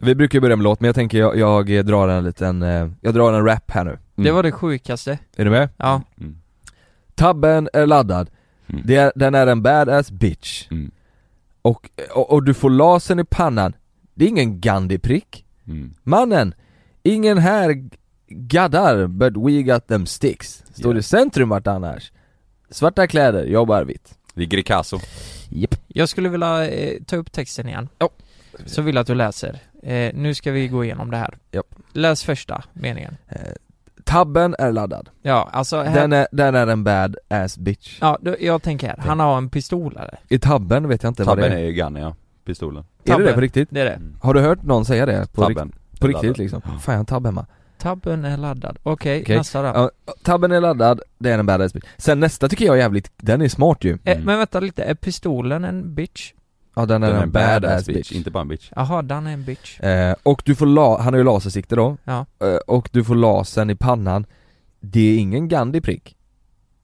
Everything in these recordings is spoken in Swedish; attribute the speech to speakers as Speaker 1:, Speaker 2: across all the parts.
Speaker 1: Vi brukar ju börja med låt, men jag tänker jag, jag drar en liten, eh, jag drar en rap här nu.
Speaker 2: Det var det sjukaste.
Speaker 1: Är du med?
Speaker 2: Ja.
Speaker 3: Mm.
Speaker 1: Tabben är laddad,
Speaker 3: Mm.
Speaker 1: det är, den är en badass bitch.
Speaker 3: Mm.
Speaker 1: Och, och, och du får lasen i pannan, det är ingen Gandhi-prick.
Speaker 3: Mm.
Speaker 1: Mannen, ingen här g- gaddar but we got them sticks. Står
Speaker 3: Ja.
Speaker 1: i centrum vart annars. Svarta kläder, jobbar vitt.
Speaker 3: Ligger i Kasso.
Speaker 2: Jag skulle vilja eh, ta upp texten igen.
Speaker 1: Ja.
Speaker 2: Så vill jag att du läser. Eh, nu ska vi gå igenom det här.
Speaker 1: Ja.
Speaker 2: Läs första meningen.
Speaker 1: Eh, tabben är laddad,
Speaker 2: Ja, alltså här,
Speaker 1: den är, den är en bad ass bitch.
Speaker 2: Ja, då, jag tänker här. Han har en pistol eller?
Speaker 1: I tabben vet jag inte vad
Speaker 3: Tabben
Speaker 1: det är.
Speaker 3: är ju Ghana ja, pistolen.
Speaker 1: Är det det
Speaker 2: Tabben.
Speaker 1: på riktigt?
Speaker 2: Det är det.
Speaker 3: Mm.
Speaker 1: Har du hört någon säga det? På, rikt,
Speaker 3: Tabben.
Speaker 1: på riktigt
Speaker 3: Laddad.
Speaker 1: liksom?
Speaker 3: Ja.
Speaker 1: Fan jag har en tab hemma.
Speaker 2: Tabben är laddad. Okej,
Speaker 1: Okej.
Speaker 2: nästa då.
Speaker 1: Ja, tabben är laddad, det är en bad ass bitch. Sen nästa tycker jag är jävligt, den är smart ju.
Speaker 2: Eh,
Speaker 3: Mm.
Speaker 2: men vänta lite, är pistolen en bitch?
Speaker 1: Ja den är en bad ass bitch.
Speaker 3: inte bara en bitch.
Speaker 2: Jaha, den är en bitch.
Speaker 1: Eh, och du får la, han har ju lasersikte då.
Speaker 2: Ja.
Speaker 1: Eh, och du får lasern i pannan. Det är ingen Gandhi-prick.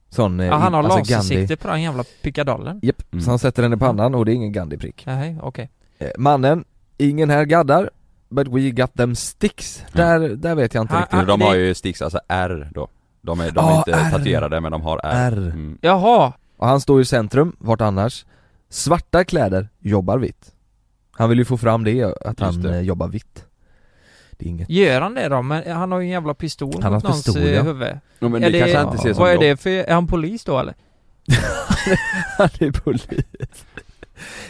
Speaker 1: Sån, eh,
Speaker 2: Ja, han har
Speaker 1: alltså Gandhi.
Speaker 2: lasersikte på den jävla pickadollen.
Speaker 1: Japp,
Speaker 3: Mm.
Speaker 1: så han sätter den i pannan och det är ingen Gandhi-prick.
Speaker 2: Nej, okej.
Speaker 1: Eh, mannen, ingen här gaddar. But we got them sticks. Där, där vet jag inte
Speaker 2: Han-
Speaker 1: riktigt.
Speaker 2: han-
Speaker 3: de
Speaker 2: det-
Speaker 3: har ju sticks, alltså R då. De är, de
Speaker 1: Ah,
Speaker 3: är inte
Speaker 1: R.
Speaker 3: tatuerade men de har R.
Speaker 1: R.
Speaker 3: Mm.
Speaker 2: Jaha!
Speaker 1: Och han står i centrum, vart annars? Svarta kläder, jobbar vitt. Han vill ju få fram det, att han
Speaker 3: det.
Speaker 1: eh, jobbar vitt. Det är inget.
Speaker 2: Gör han det då? Men eh, han har ju en jävla pistol
Speaker 1: Han har
Speaker 2: mot någons
Speaker 1: pistol,
Speaker 2: eh,
Speaker 1: ja.
Speaker 2: huvud.
Speaker 3: Ja, men
Speaker 2: Är
Speaker 3: det, kanske han inte ser som
Speaker 2: Vad är
Speaker 3: jobb.
Speaker 2: det för, är han polis då eller?
Speaker 1: Han är polis.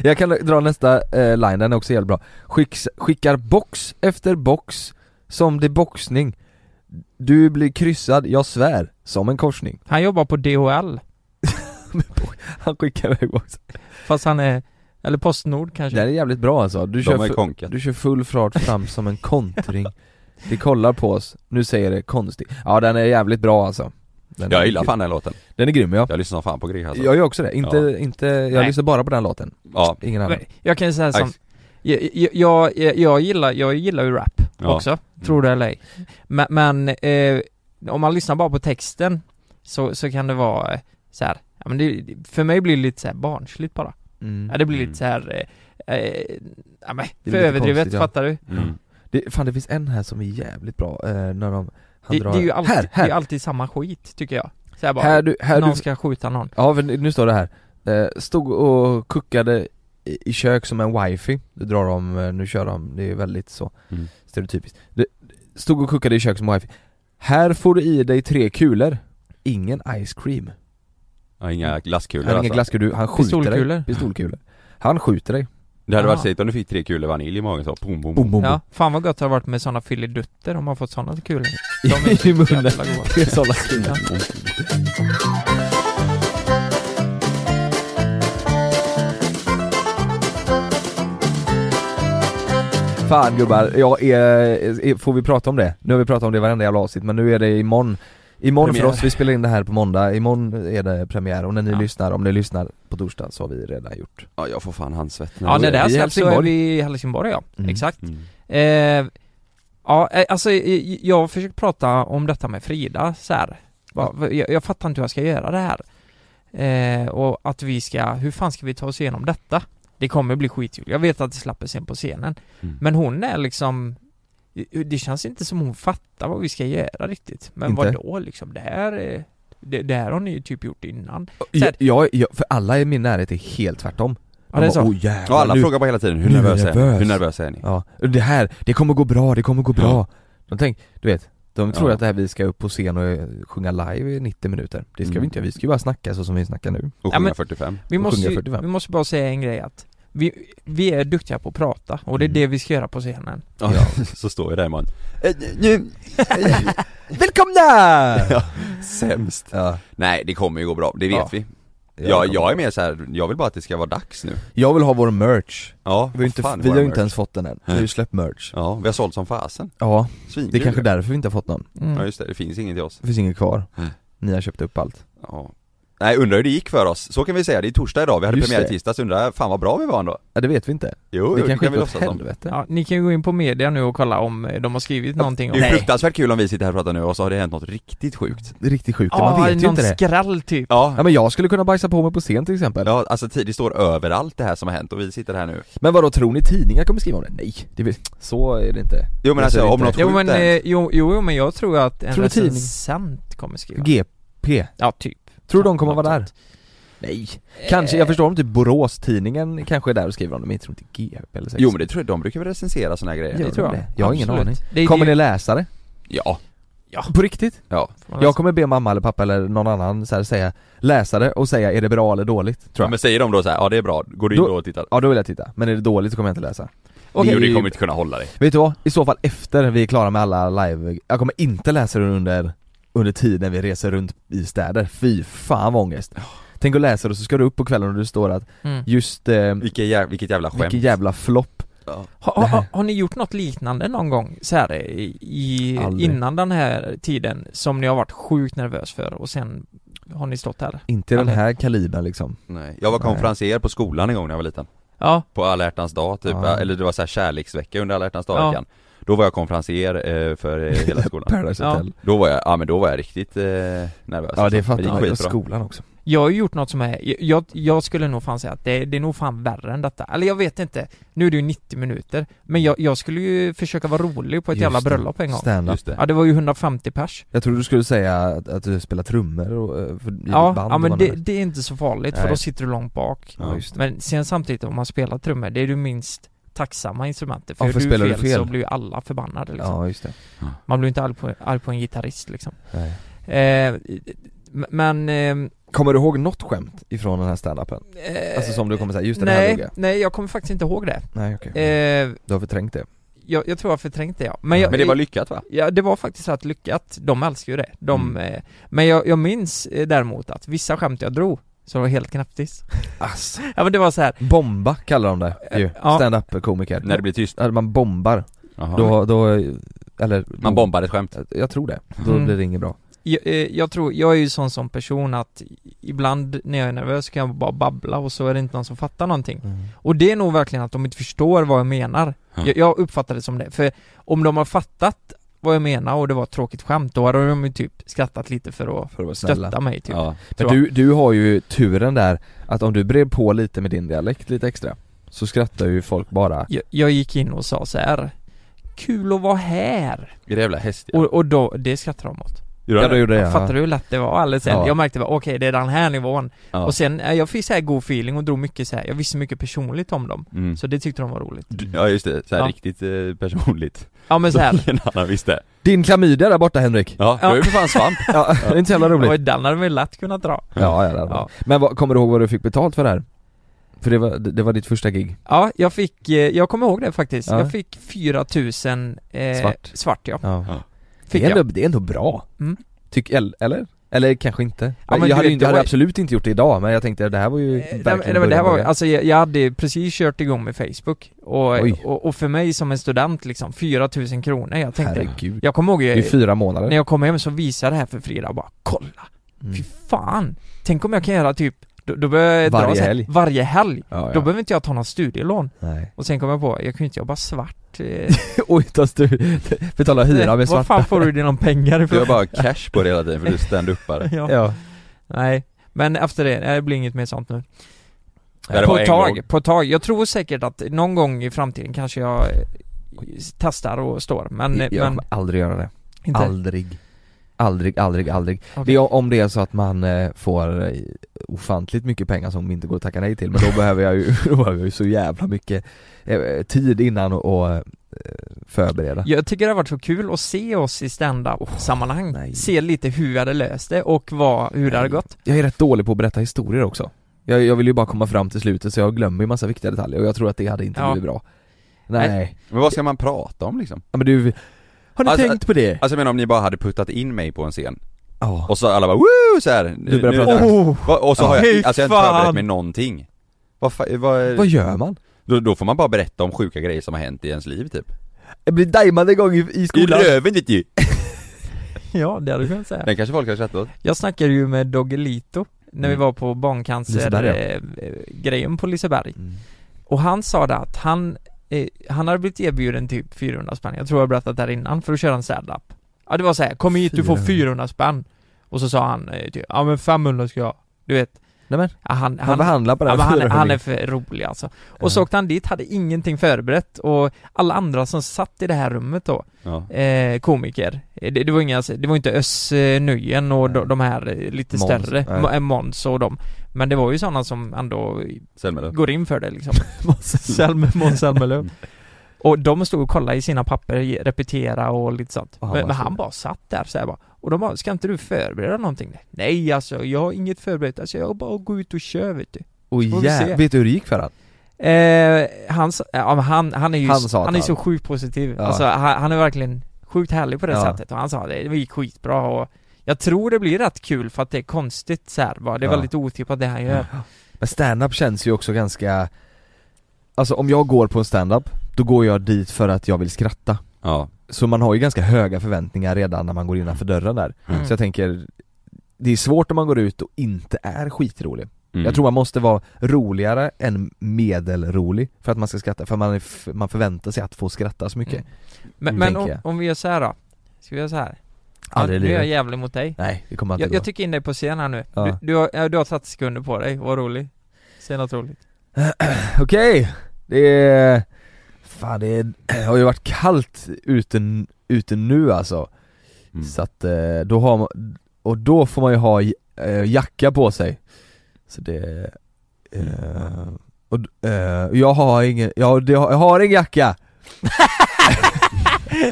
Speaker 1: Jag kan dra nästa eh, line, den är också jävligt bra. Skicks, skickar box efter box som det är boxning. Du blir kryssad, jag svär, som en korsning.
Speaker 2: Han jobbar på DHL.
Speaker 1: Han skickar iväg box.
Speaker 2: Fast han är, eller Postnord kanske.
Speaker 1: Det här är jävligt bra alltså. Du
Speaker 3: De
Speaker 1: kör,
Speaker 3: är
Speaker 1: fu-
Speaker 3: konkat.
Speaker 1: du kör full fart fram som en kontring. Det kollar på oss, nu säger det konstigt. Ja den är jävligt bra alltså. Den är
Speaker 3: Jag gillar
Speaker 1: grym.
Speaker 3: fan den här låten.
Speaker 1: Den är grym ja.
Speaker 3: Jag lyssnar som fan på Grieg alltså.
Speaker 1: Jag gör också det, inte,
Speaker 3: Ja.
Speaker 1: inte, jag
Speaker 2: Nej.
Speaker 1: lyssnar bara på den låten,
Speaker 3: Ja.
Speaker 1: ingen annan.
Speaker 2: Men Jag kan ju säga som,
Speaker 3: Nice.
Speaker 2: jag, jag, jag, jag gillar, jag gillar ju rap
Speaker 3: Ja.
Speaker 2: också,
Speaker 1: Mm.
Speaker 2: tror det eller ej. Men, men eh, om man lyssnar bara på texten så, så kan det vara eh, så här. Ja, men det, för mig blir det lite så här barnsligt bara.
Speaker 1: Mm.
Speaker 2: Ja, det blir
Speaker 3: Mm.
Speaker 2: lite så här eh, eh, ja, men,
Speaker 1: lite
Speaker 2: för överdrivet,
Speaker 1: konstigt, ja.
Speaker 2: fattar du?
Speaker 3: Mm.
Speaker 1: Det, fan det finns en här som är jävligt bra, eh, när de, han
Speaker 2: Det,
Speaker 1: drar,
Speaker 2: det är ju alltid,
Speaker 1: här,
Speaker 2: Det är
Speaker 1: här,
Speaker 2: alltid samma skit, tycker jag. Så här bara,
Speaker 1: här du, här
Speaker 2: någon
Speaker 1: du,
Speaker 2: ska skjuta någon.
Speaker 1: ja för nu står det här, eh, stod och kuckade i i kök som en wifi, du drar om, eh, nu kör de, det är väldigt så
Speaker 3: Mm.
Speaker 1: stereotypiskt det, Stod och kuckade i kök som en wifi, här får du i dig tre kulor, ingen ice cream
Speaker 3: Ja, inga glasskulor
Speaker 1: Han har inga
Speaker 3: alltså.
Speaker 1: glasskulor, du- han skjuter
Speaker 2: Pistolkulor.
Speaker 1: dig Pistolkulor Han skjuter dig,
Speaker 3: Det hade varit
Speaker 2: Ah.
Speaker 3: segt om du fick tre kulor vanilj i magen så, boom, boom,
Speaker 1: bom
Speaker 3: boom.
Speaker 1: bom
Speaker 2: Ja,
Speaker 1: bom
Speaker 2: fan vad gött det har varit med sådana filidutter om man fått sådana kulor.
Speaker 1: I munnen,
Speaker 2: jävla goda.
Speaker 1: det är sådana kulor Fan gubbar, jag är, är- får vi prata om det? Nu har vi pratat om det i varenda jävla avsnitt men nu är det imorgon Imorgon
Speaker 3: Premiär.
Speaker 1: för oss, vi spelar in det här på måndag, imorgon är det premiär och när ni
Speaker 2: Ja.
Speaker 1: lyssnar, om ni lyssnar på torsdag så har vi redan gjort
Speaker 3: Ja, jag får fan handsvett nu.
Speaker 2: Ja, när det här
Speaker 1: i
Speaker 2: släpps så är
Speaker 1: Helsingborg.
Speaker 2: vi i Helsingborg ja,
Speaker 1: Mm.
Speaker 2: exakt.
Speaker 3: Mm.
Speaker 2: Eh, ja, eh, alltså eh, jag har försökt prata om detta med Frida så här. Va- va- Jag, jag fattar inte hur jag ska göra det här. Eh, och att vi ska, hur fan ska vi ta oss igenom detta? Det kommer bli skitkul. Jag vet att det släpper sen på scenen.
Speaker 3: Mm.
Speaker 2: Men hon är liksom Det känns inte som hon fattar vad vi ska göra riktigt. Men
Speaker 1: Inte?
Speaker 2: vad då liksom? Det här är- det, det här har ni ju typ gjort innan. Så
Speaker 1: jag,
Speaker 2: här-
Speaker 1: jag, jag, för alla i min närhet är helt tvärtom
Speaker 2: Ja, det är
Speaker 1: De bara,
Speaker 2: så.
Speaker 1: "Åh, jävlar,
Speaker 3: Och alla
Speaker 1: nu-
Speaker 3: frågar bara hela tiden, hur
Speaker 1: nu är jag
Speaker 3: nervös är ni?
Speaker 1: nervös.
Speaker 3: Hur nervösa är ni?
Speaker 1: Ja, det här, det kommer gå bra, det kommer gå bra De tänk, du vet, de tror
Speaker 3: Ja.
Speaker 1: att det här vi ska upp på scen och eh, sjunga live i 90 minuter Det ska
Speaker 3: Mm.
Speaker 1: vi inte göra, vi ska ju bara snacka så som vi snackar nu
Speaker 3: Och
Speaker 2: Ja, men-
Speaker 3: 745?
Speaker 2: Vi
Speaker 1: Och
Speaker 2: måste,
Speaker 1: sjunga
Speaker 2: ju,
Speaker 1: 45.
Speaker 2: vi måste bara säga en grej att vi, vi är duktiga på att prata och det är
Speaker 3: Mm.
Speaker 2: det vi ska göra på scenen.
Speaker 3: Ja, så står jag där imorgon. Eh, Nu,
Speaker 1: Välkomna!
Speaker 3: ja, sämst.
Speaker 1: ja.
Speaker 3: Nej, det kommer ju gå bra, det vet
Speaker 1: Ja.
Speaker 3: vi. Ja, jag är mer så här, jag vill bara att det ska vara dags nu.
Speaker 1: Jag vill ha vår merch
Speaker 3: Ja,
Speaker 1: Vi har, inte,
Speaker 3: fan,
Speaker 1: vi
Speaker 3: våra
Speaker 1: har inte
Speaker 3: merch.
Speaker 1: ens fått den än, vi har ju släppt merch
Speaker 3: Ja, vi har sålt som fasen.
Speaker 1: Ja,
Speaker 3: Svinkul.
Speaker 1: det är kanske är därför vi inte har fått någon
Speaker 2: Mm.
Speaker 3: Ja just det, det finns inget till oss.
Speaker 1: Det finns inget kvar
Speaker 3: Nej.
Speaker 1: Ni har köpt upp allt
Speaker 3: Ja. Nej undrar hur det gick för oss, så kan vi säga, det är torsdag idag, vi hade
Speaker 1: Just
Speaker 3: premiär i
Speaker 1: det.
Speaker 3: tisdags, undrar fan vad bra vi var ändå
Speaker 1: Ja det vet vi inte.
Speaker 3: Jo,
Speaker 1: Det
Speaker 3: det
Speaker 1: kanske
Speaker 3: kan vi
Speaker 1: gick åt
Speaker 3: låtsas som
Speaker 1: helvete.
Speaker 2: Ja, ni kan ju gå in på media nu och kolla om eh, de har skrivit någonting
Speaker 3: Det
Speaker 2: om
Speaker 3: är ju
Speaker 1: Nej.
Speaker 3: fruktansvärt kul om vi sitter här och pratar nu och så har det hänt något riktigt sjukt
Speaker 1: Det är riktigt sjukt,
Speaker 2: Ja,
Speaker 1: man vet ju
Speaker 2: någon
Speaker 1: inte det.
Speaker 2: skräll typ
Speaker 1: Ja
Speaker 3: Ja,
Speaker 1: men jag skulle kunna bajsa på mig på scen till exempel.
Speaker 3: ja alltså tid- det står överallt det här som har hänt och vi sitter här nu
Speaker 1: Men vadå, tror ni tidningar kommer skriva om det? Nej, det är, väl- så är det inte.
Speaker 3: Jo men
Speaker 1: Jag ser
Speaker 3: alltså om
Speaker 1: inte.
Speaker 3: något
Speaker 2: Jo
Speaker 3: sjukt
Speaker 2: men,
Speaker 3: har hänt.
Speaker 2: eh, jo, jo jo, men jag tror att en
Speaker 1: Tror du tidning?
Speaker 2: recensent kommer skriva
Speaker 1: GP,
Speaker 2: Ja typ Eh,
Speaker 1: tror du de kommer vara där?
Speaker 2: Något
Speaker 1: Nej. Kanske, jag förstår om typ Borås-tidningen kanske är där och skriver om det, men jag tror inte GP eller sex.
Speaker 3: Jo men det tror jag, de brukar väl recensera såna här grejer?
Speaker 1: Gör
Speaker 2: det tror
Speaker 1: de
Speaker 2: jag.
Speaker 1: det? Jag har ingen
Speaker 2: Absolut.
Speaker 1: aning.
Speaker 2: Det är-
Speaker 1: Kommer
Speaker 2: det-
Speaker 1: ni läsa det?
Speaker 3: Ja,
Speaker 1: På riktigt?
Speaker 3: ja
Speaker 2: sånt.
Speaker 1: Jag kommer be mamma eller pappa eller någon annan så här, säga, läsa det och säga är det bra eller dåligt, tror
Speaker 3: Ja,
Speaker 1: jag.
Speaker 3: men säger de då så här, ja det är bra, går du in
Speaker 1: Då-
Speaker 3: då och tittar?
Speaker 1: Ja då vill jag titta, men är det dåligt så kommer jag inte läsa.
Speaker 3: Jo
Speaker 1: Det är
Speaker 3: det
Speaker 1: ju-
Speaker 3: kommer inte kunna hålla dig
Speaker 1: Vet du vad? I så fall efter vi är klara med alla live, jag kommer inte läsa det under, under tiden vi reser runt i städer, fy fan vad ångest. Tänk att läsa det och så ska du upp på kvällen och du står att
Speaker 2: Mm.
Speaker 1: just, eh,
Speaker 3: Vilket jävla, vilket jävla skämt
Speaker 1: vilken jävla flopp.
Speaker 3: Ja.
Speaker 2: Har, har, har- har ni gjort något liknande någon gång så här i, i
Speaker 1: Aldrig.
Speaker 2: innan den här tiden som ni har varit sjukt nervös för och sen har ni stått här?
Speaker 1: Inte den
Speaker 2: Eller-
Speaker 1: här kalibern liksom.
Speaker 3: Nej. Jag var
Speaker 1: Nej.
Speaker 3: konferenser på skolan en gång när jag var liten
Speaker 2: Ja,
Speaker 3: På alla hjärtans dag typ,
Speaker 1: Ja.
Speaker 3: eller det var så här kärleksvecka under alla hjärtans
Speaker 2: Ja.
Speaker 3: dag-veckan Då var jag konferenser eh, för eh, hela skolan
Speaker 1: Paradise
Speaker 2: Ja.
Speaker 1: Hotel.
Speaker 3: Då var jag, ja men då var jag riktigt eh, nervös
Speaker 1: Ja, det fattar
Speaker 3: gick
Speaker 1: jag. Och
Speaker 3: skitbra.
Speaker 1: skolan också.
Speaker 2: jag har ju gjort något som är, jag, jag skulle nog fan säga att det, det är nog fan värre än detta. Eller jag vet inte, nu är det ju 90 minuter. Men jag, jag skulle ju försöka vara rolig på ett
Speaker 1: Just
Speaker 2: jävla
Speaker 1: det.
Speaker 2: bröllop en gång.
Speaker 1: Stand up.
Speaker 3: Just det.
Speaker 2: Ja det var ju 150 pers.
Speaker 1: Jag trodde du skulle säga att, att du spelar trummor och, eh, för, i
Speaker 2: Ja,
Speaker 1: ditt band
Speaker 2: ja
Speaker 1: och
Speaker 2: men
Speaker 1: vad
Speaker 2: det,
Speaker 1: nu är.
Speaker 2: det är inte så farligt för
Speaker 1: Nej.
Speaker 2: då sitter du långt bak.
Speaker 1: Ja, just det.
Speaker 2: Men sen samtidigt om man spelar trummor, det är du minst tacksamma instrumentet för,
Speaker 1: Ja, för
Speaker 2: är du
Speaker 1: spelar
Speaker 2: fel,
Speaker 1: du fel.
Speaker 2: så blir ju alla förbannade liksom.
Speaker 1: Ja just det.
Speaker 2: Man blir inte arg på, arg på en gitarrist liksom.
Speaker 1: Nej.
Speaker 2: Eh, m- men... Eh,
Speaker 1: Kommer du ihåg något skämt ifrån den här standupen?
Speaker 2: eh,
Speaker 1: Alltså som du kommer säga, just den här
Speaker 2: nej,
Speaker 1: drog jag.
Speaker 2: nej, jag kommer faktiskt inte ihåg det.
Speaker 1: Nej okej.
Speaker 2: Eh,
Speaker 1: Du har förträngt det.
Speaker 2: jag, jag tror jag förträngt det ja.
Speaker 1: Ja.
Speaker 2: Men, jag,
Speaker 3: Men det var lyckat va?
Speaker 2: Ja, det var faktiskt rätt lyckat. De älskar ju det. De,
Speaker 1: Mm.
Speaker 2: eh, men jag, jag minns eh, däremot att vissa skämt jag drog, så det var helt knapptis.
Speaker 1: Ass.
Speaker 2: ja men det var så här. eh,
Speaker 1: Bomba kallar de det ju,
Speaker 2: Ja.
Speaker 1: stand-up komiker.
Speaker 3: När det blir tyst?
Speaker 1: När man bombar,
Speaker 3: Jaha.
Speaker 1: då, då, eller
Speaker 3: Man bombar ett skämt?
Speaker 1: Jag tror det, då
Speaker 2: Mm.
Speaker 1: blir det inget bra.
Speaker 2: Jag, eh, jag tror, jag är ju sån som person att ibland när jag är nervös så kan jag bara babbla och så är det inte någon som fattar någonting. Och det är nog verkligen att de inte förstår vad jag menar.
Speaker 3: Ja.
Speaker 2: Jag, jag uppfattar det som det, för om de har fattat vad jag menar och det var ett tråkigt skämt, då hade de ju typ skrattat lite för att
Speaker 1: För att vara snälla.
Speaker 2: stötta mig typ.
Speaker 3: Ja.
Speaker 1: Men du, du har ju turen där, att om du brer på lite med din dialekt lite extra, så skrattar ju folk bara
Speaker 2: Jag, jag gick in och sa så här. Kul att vara här!
Speaker 3: Är det jävla häst?
Speaker 2: Och, och då, det skrattade de åt.
Speaker 1: Ja du gjorde det
Speaker 2: Jag fattar du hur lätt det var alldeles sen?
Speaker 1: Ja.
Speaker 2: Jag märkte bara, okej det är den här nivån.
Speaker 3: Ja.
Speaker 2: Och sen, eh, jag fick så här god feeling och drog mycket så här. jag visste mycket personligt om dem.
Speaker 3: Mm.
Speaker 2: Så det tyckte de var roligt.
Speaker 3: Du- Ja just det, såhär
Speaker 2: Ja.
Speaker 3: riktigt eh, personligt
Speaker 2: Ja men så här.
Speaker 3: En annan visste
Speaker 1: Din klamydia där borta Henrik!
Speaker 3: Ja, du
Speaker 2: Ja.
Speaker 3: har ju för fan svamp
Speaker 1: Ja, det är inte så jävla roligt.
Speaker 2: Och den hade vi lätt kunnat dra.
Speaker 1: Ja, ja, det
Speaker 2: Ja.
Speaker 1: ja. Men vad, kommer du ihåg vad du fick betalt för det här? För det var, det det var ditt första gig?
Speaker 2: Ja, jag fick, eh, jag kommer ihåg det faktiskt.
Speaker 1: Ja.
Speaker 2: Jag fick 4000 eh,
Speaker 1: Svart.
Speaker 2: svart ja.
Speaker 1: Ja.
Speaker 2: Fick
Speaker 1: det, är
Speaker 2: jag.
Speaker 1: ändå, det är ändå bra.
Speaker 2: Mm.
Speaker 1: Tyck, el- eller? Eller kanske inte.
Speaker 2: men du
Speaker 1: jag hade,
Speaker 2: vet,
Speaker 1: ju inte,
Speaker 2: det
Speaker 1: jag hade
Speaker 2: var-
Speaker 1: absolut inte gjort det idag men jag tänkte det här var ju
Speaker 2: Eh,
Speaker 1: verkligen
Speaker 2: nej, men- nej, men det här
Speaker 1: början
Speaker 2: var,
Speaker 1: början.
Speaker 2: alltså jag, jag hade precis kört igång med Facebook och,
Speaker 1: Oj.
Speaker 2: och, och för mig som en student liksom, 4000 kronor, jag tänkte
Speaker 1: Herregud.
Speaker 2: Jag kommer ihåg,
Speaker 1: Det är ju
Speaker 2: jag,
Speaker 1: fyra månader.
Speaker 2: när jag kom hem så visade jag det här för Frida och bara kolla,
Speaker 1: Mm.
Speaker 2: fy fan! Tänk om jag kan göra typ, då, då börjar jag dra
Speaker 1: Varje
Speaker 2: så här-
Speaker 1: helg.
Speaker 2: varje helg.
Speaker 1: Ja, ja.
Speaker 2: Då behöver inte jag ta någon studielån.
Speaker 1: Nej.
Speaker 2: Och sen kom jag på, jag kan ju inte jobba svart. eh.
Speaker 1: Oj, tas du betala hyra med
Speaker 2: Var
Speaker 1: svarta.
Speaker 2: fan får du dina pengar
Speaker 3: Du har
Speaker 2: ifrån?
Speaker 3: bara cash på det hela tiden för du är standupare
Speaker 2: Ja.
Speaker 1: Ja.
Speaker 2: Nej, men efter det, nej, det blir inget mer sånt nu.
Speaker 3: Ja, det
Speaker 2: på
Speaker 3: var
Speaker 2: ett
Speaker 3: en
Speaker 2: tag,
Speaker 3: gång.
Speaker 2: på ett tag. Jag tror säkert att någon gång i framtiden kanske jag eh, testar och står, men, eh,
Speaker 1: jag
Speaker 2: men
Speaker 1: kommer aldrig göra det.
Speaker 2: inte.
Speaker 1: Aldrig. Aldrig, aldrig, aldrig.
Speaker 2: Okej.
Speaker 1: Det är om det är så att man eh, får eh, ofantligt mycket pengar som inte går att tacka nej till men då behöver jag ju, då behöver jag ju så jävla mycket eh, tid innan och, och eh, förbereda.
Speaker 2: Jag tycker det har varit så kul att se oss i stand-up sammanhang
Speaker 1: nej.
Speaker 2: Se lite hur vi hade löst det och vad, hur det hade
Speaker 1: Nej.
Speaker 2: gått
Speaker 1: Jag är rätt dålig på att berätta historier också. Jag, jag vill ju bara komma fram till slutet så jag glömmer ju massa viktiga detaljer och jag tror att det hade inte
Speaker 2: Ja.
Speaker 1: blivit bra. Nej.
Speaker 3: Men vad ska man prata om liksom?
Speaker 1: Ja, Men du, har ni
Speaker 3: Alltså-
Speaker 1: tänkt på det?
Speaker 3: Alltså jag menar om ni bara hade puttat in mig på en scen
Speaker 1: Ja.
Speaker 3: Och så alla bara woo så här.
Speaker 1: Du börjar
Speaker 3: Nu-
Speaker 1: prata.
Speaker 2: oh.
Speaker 3: Va- Och så har
Speaker 2: Fy
Speaker 3: jag, alltså jag har inte
Speaker 2: fan.
Speaker 3: förberett mig någonting vad, fa- vad,
Speaker 1: Vad gör man?
Speaker 3: då, då får man bara berätta om sjuka grejer som har hänt i ens liv typ
Speaker 1: Jag blir dajmad en gång i, i
Speaker 3: I
Speaker 1: skolan.
Speaker 3: röven vet du!
Speaker 2: Ja, det hade du kunnat säga
Speaker 3: Den kanske folk har skrattat åt
Speaker 2: Jag snackade ju med Doggelito När vi
Speaker 3: Mm.
Speaker 2: var på
Speaker 1: Liseberg, ja.
Speaker 2: barncancer-grejen på Liseberg
Speaker 3: Mm.
Speaker 2: Och han sa det att han, eh, han hade blivit erbjuden typ 400 spänn, jag tror jag har berättat det här innan, för att köra en stand-up Ja det var såhär, kom hit du får
Speaker 1: 400.
Speaker 2: 400 spänn Och så sa han eh, typ, ja men 500 ska jag, du vet
Speaker 1: Nej, men.
Speaker 2: ja, han,
Speaker 1: Han behandlar på
Speaker 2: ja,
Speaker 1: den
Speaker 2: men han, är- han är
Speaker 1: fyrhundringen.
Speaker 2: för rolig alltså
Speaker 1: Ja.
Speaker 2: Och så åkte han dit, hade ingenting förberett och alla andra som satt i det här rummet då
Speaker 3: Ja.
Speaker 2: eh, komiker. Eh, Det, det var inga, det var inte Özz eh, Nujen och de,
Speaker 1: Nej.
Speaker 2: de här eh, lite
Speaker 1: Måns,
Speaker 2: större,
Speaker 1: nej.
Speaker 2: Mo- eh, Måns och de. Men det var ju sådana som ändå
Speaker 3: Selmelöv.
Speaker 2: går in för det liksom.
Speaker 1: Selma-
Speaker 2: Måns Zelmerlöw.
Speaker 3: Mm.
Speaker 2: Och de stod och kollade i sina papper, ge- repetera och lite sånt.
Speaker 1: Och han
Speaker 2: men,
Speaker 1: bara
Speaker 2: men
Speaker 1: stod
Speaker 2: han
Speaker 1: där.
Speaker 2: bara satt där så här bara. Och de bara, ska inte du förbereda någonting? Nej alltså, jag har inget förberett, alltså jag bara går ut och kör vet du.
Speaker 1: Och
Speaker 2: Får vi se.
Speaker 1: jä... Vet du hur det gick för han?
Speaker 2: Eh, han, sa- ja, men han, han är ju
Speaker 1: Han
Speaker 2: s-
Speaker 1: sa att
Speaker 2: han är
Speaker 1: han-
Speaker 2: så sjukt positiv.
Speaker 1: Ja.
Speaker 2: Alltså, han, han är verkligen sjukt härlig på det
Speaker 1: Ja.
Speaker 2: sättet och han sa det, det gick skitbra och jag tror det blir rätt kul för att det är konstigt så här, bara. Det är
Speaker 1: Ja.
Speaker 2: väldigt otippat det han gör.
Speaker 1: Men stand-up känns ju också ganska Alltså om jag går på en stand-up Då går jag dit för att jag vill skratta
Speaker 3: Ja.
Speaker 1: Så man har ju ganska höga förväntningar redan när man går innanför dörren där
Speaker 2: Mm.
Speaker 1: Så jag tänker Det är svårt om man går ut och inte är skitrolig
Speaker 3: Mm.
Speaker 1: Jag tror man måste vara roligare än medelrolig För att man ska skratta, för man, är f- man förväntar sig att få skratta så mycket
Speaker 2: Mm. Men,
Speaker 1: Mm.
Speaker 2: men
Speaker 1: Tänker
Speaker 2: om,
Speaker 1: jag.
Speaker 2: om vi gör så här då? Ska vi göra så här? Ja,
Speaker 1: Aldrig i
Speaker 2: nu är jag
Speaker 1: livet.
Speaker 2: jävlig mot dig.
Speaker 1: Nej, det kommer inte
Speaker 2: Jag,
Speaker 1: gå
Speaker 2: jag tycker in dig på scen här nu.
Speaker 1: Ja.
Speaker 2: Du, du, har, ja, du har 30 sekunder på dig, var rolig. Säg något roligt.
Speaker 1: Okej, det är... Fan det, är, det har ju varit kallt ute, ute nu alltså
Speaker 3: Mm.
Speaker 1: Så att eh, då har man, och då får man ju ha eh, jacka på sig Så det, eh,
Speaker 2: Mm.
Speaker 1: och d- eh, jag har ingen, jag, har- det har- jag har ingen jacka!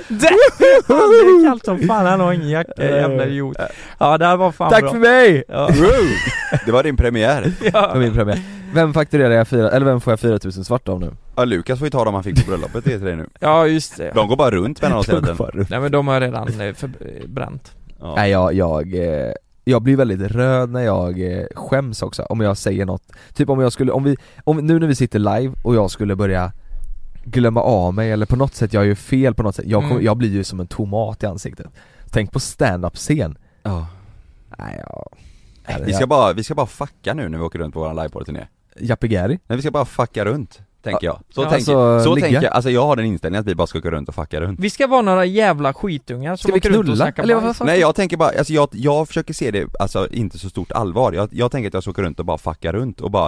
Speaker 2: Det är kallt som fan, han har ingen jacka, jävla idiot. Ja det här var fan
Speaker 1: Eh, Tack
Speaker 2: bra.
Speaker 1: för mig!
Speaker 2: Ja.
Speaker 3: Det var din premiär.
Speaker 1: Det var min premiär. Vem fakturerar jag fyra, eller vem får jag 4000 svart av nu?
Speaker 3: Ja, Lukas får ju ta dem han fick på bröllopet det är till dig nu.
Speaker 2: Ja just det.
Speaker 3: De går bara runt mellan oss hela tiden.
Speaker 1: Bara-
Speaker 2: Nej men de har jag redan eh, för, eh, bränt.
Speaker 3: Ja.
Speaker 1: Nej jag, jag, eh, jag blir väldigt röd när jag eh, skäms också, om jag säger något Typ om jag skulle, om vi, om, nu när vi sitter live och jag skulle börja glömma av mig eller på något sätt, jag gör fel på något sätt, jag, kommer,
Speaker 2: Mm.
Speaker 1: jag blir ju som en tomat i ansiktet Tänk på stand-up-scen
Speaker 3: Ja.
Speaker 1: Nej ja,
Speaker 3: Vi ska bara, vi ska bara fucka nu när vi åker runt på våran livepodd-turné.
Speaker 1: Jappe Gary
Speaker 3: Nej vi ska bara fucka runt, tänker jag. Så
Speaker 2: Ja,
Speaker 3: tänker
Speaker 1: alltså,
Speaker 3: så
Speaker 1: ligga.
Speaker 3: tänker jag, alltså jag har den inställningen att vi bara ska gå runt och fucka runt.
Speaker 2: Vi ska vara några jävla skitungar som
Speaker 1: Ska vi
Speaker 2: åker runt och
Speaker 1: knulla?
Speaker 2: snackar
Speaker 1: Eller vad
Speaker 2: bajs.
Speaker 1: fan?
Speaker 3: Nej jag tänker bara, alltså jag, jag försöker se det, alltså inte så stort allvar. Jag, jag tänker att jag ska åka runt och bara fucka runt och bara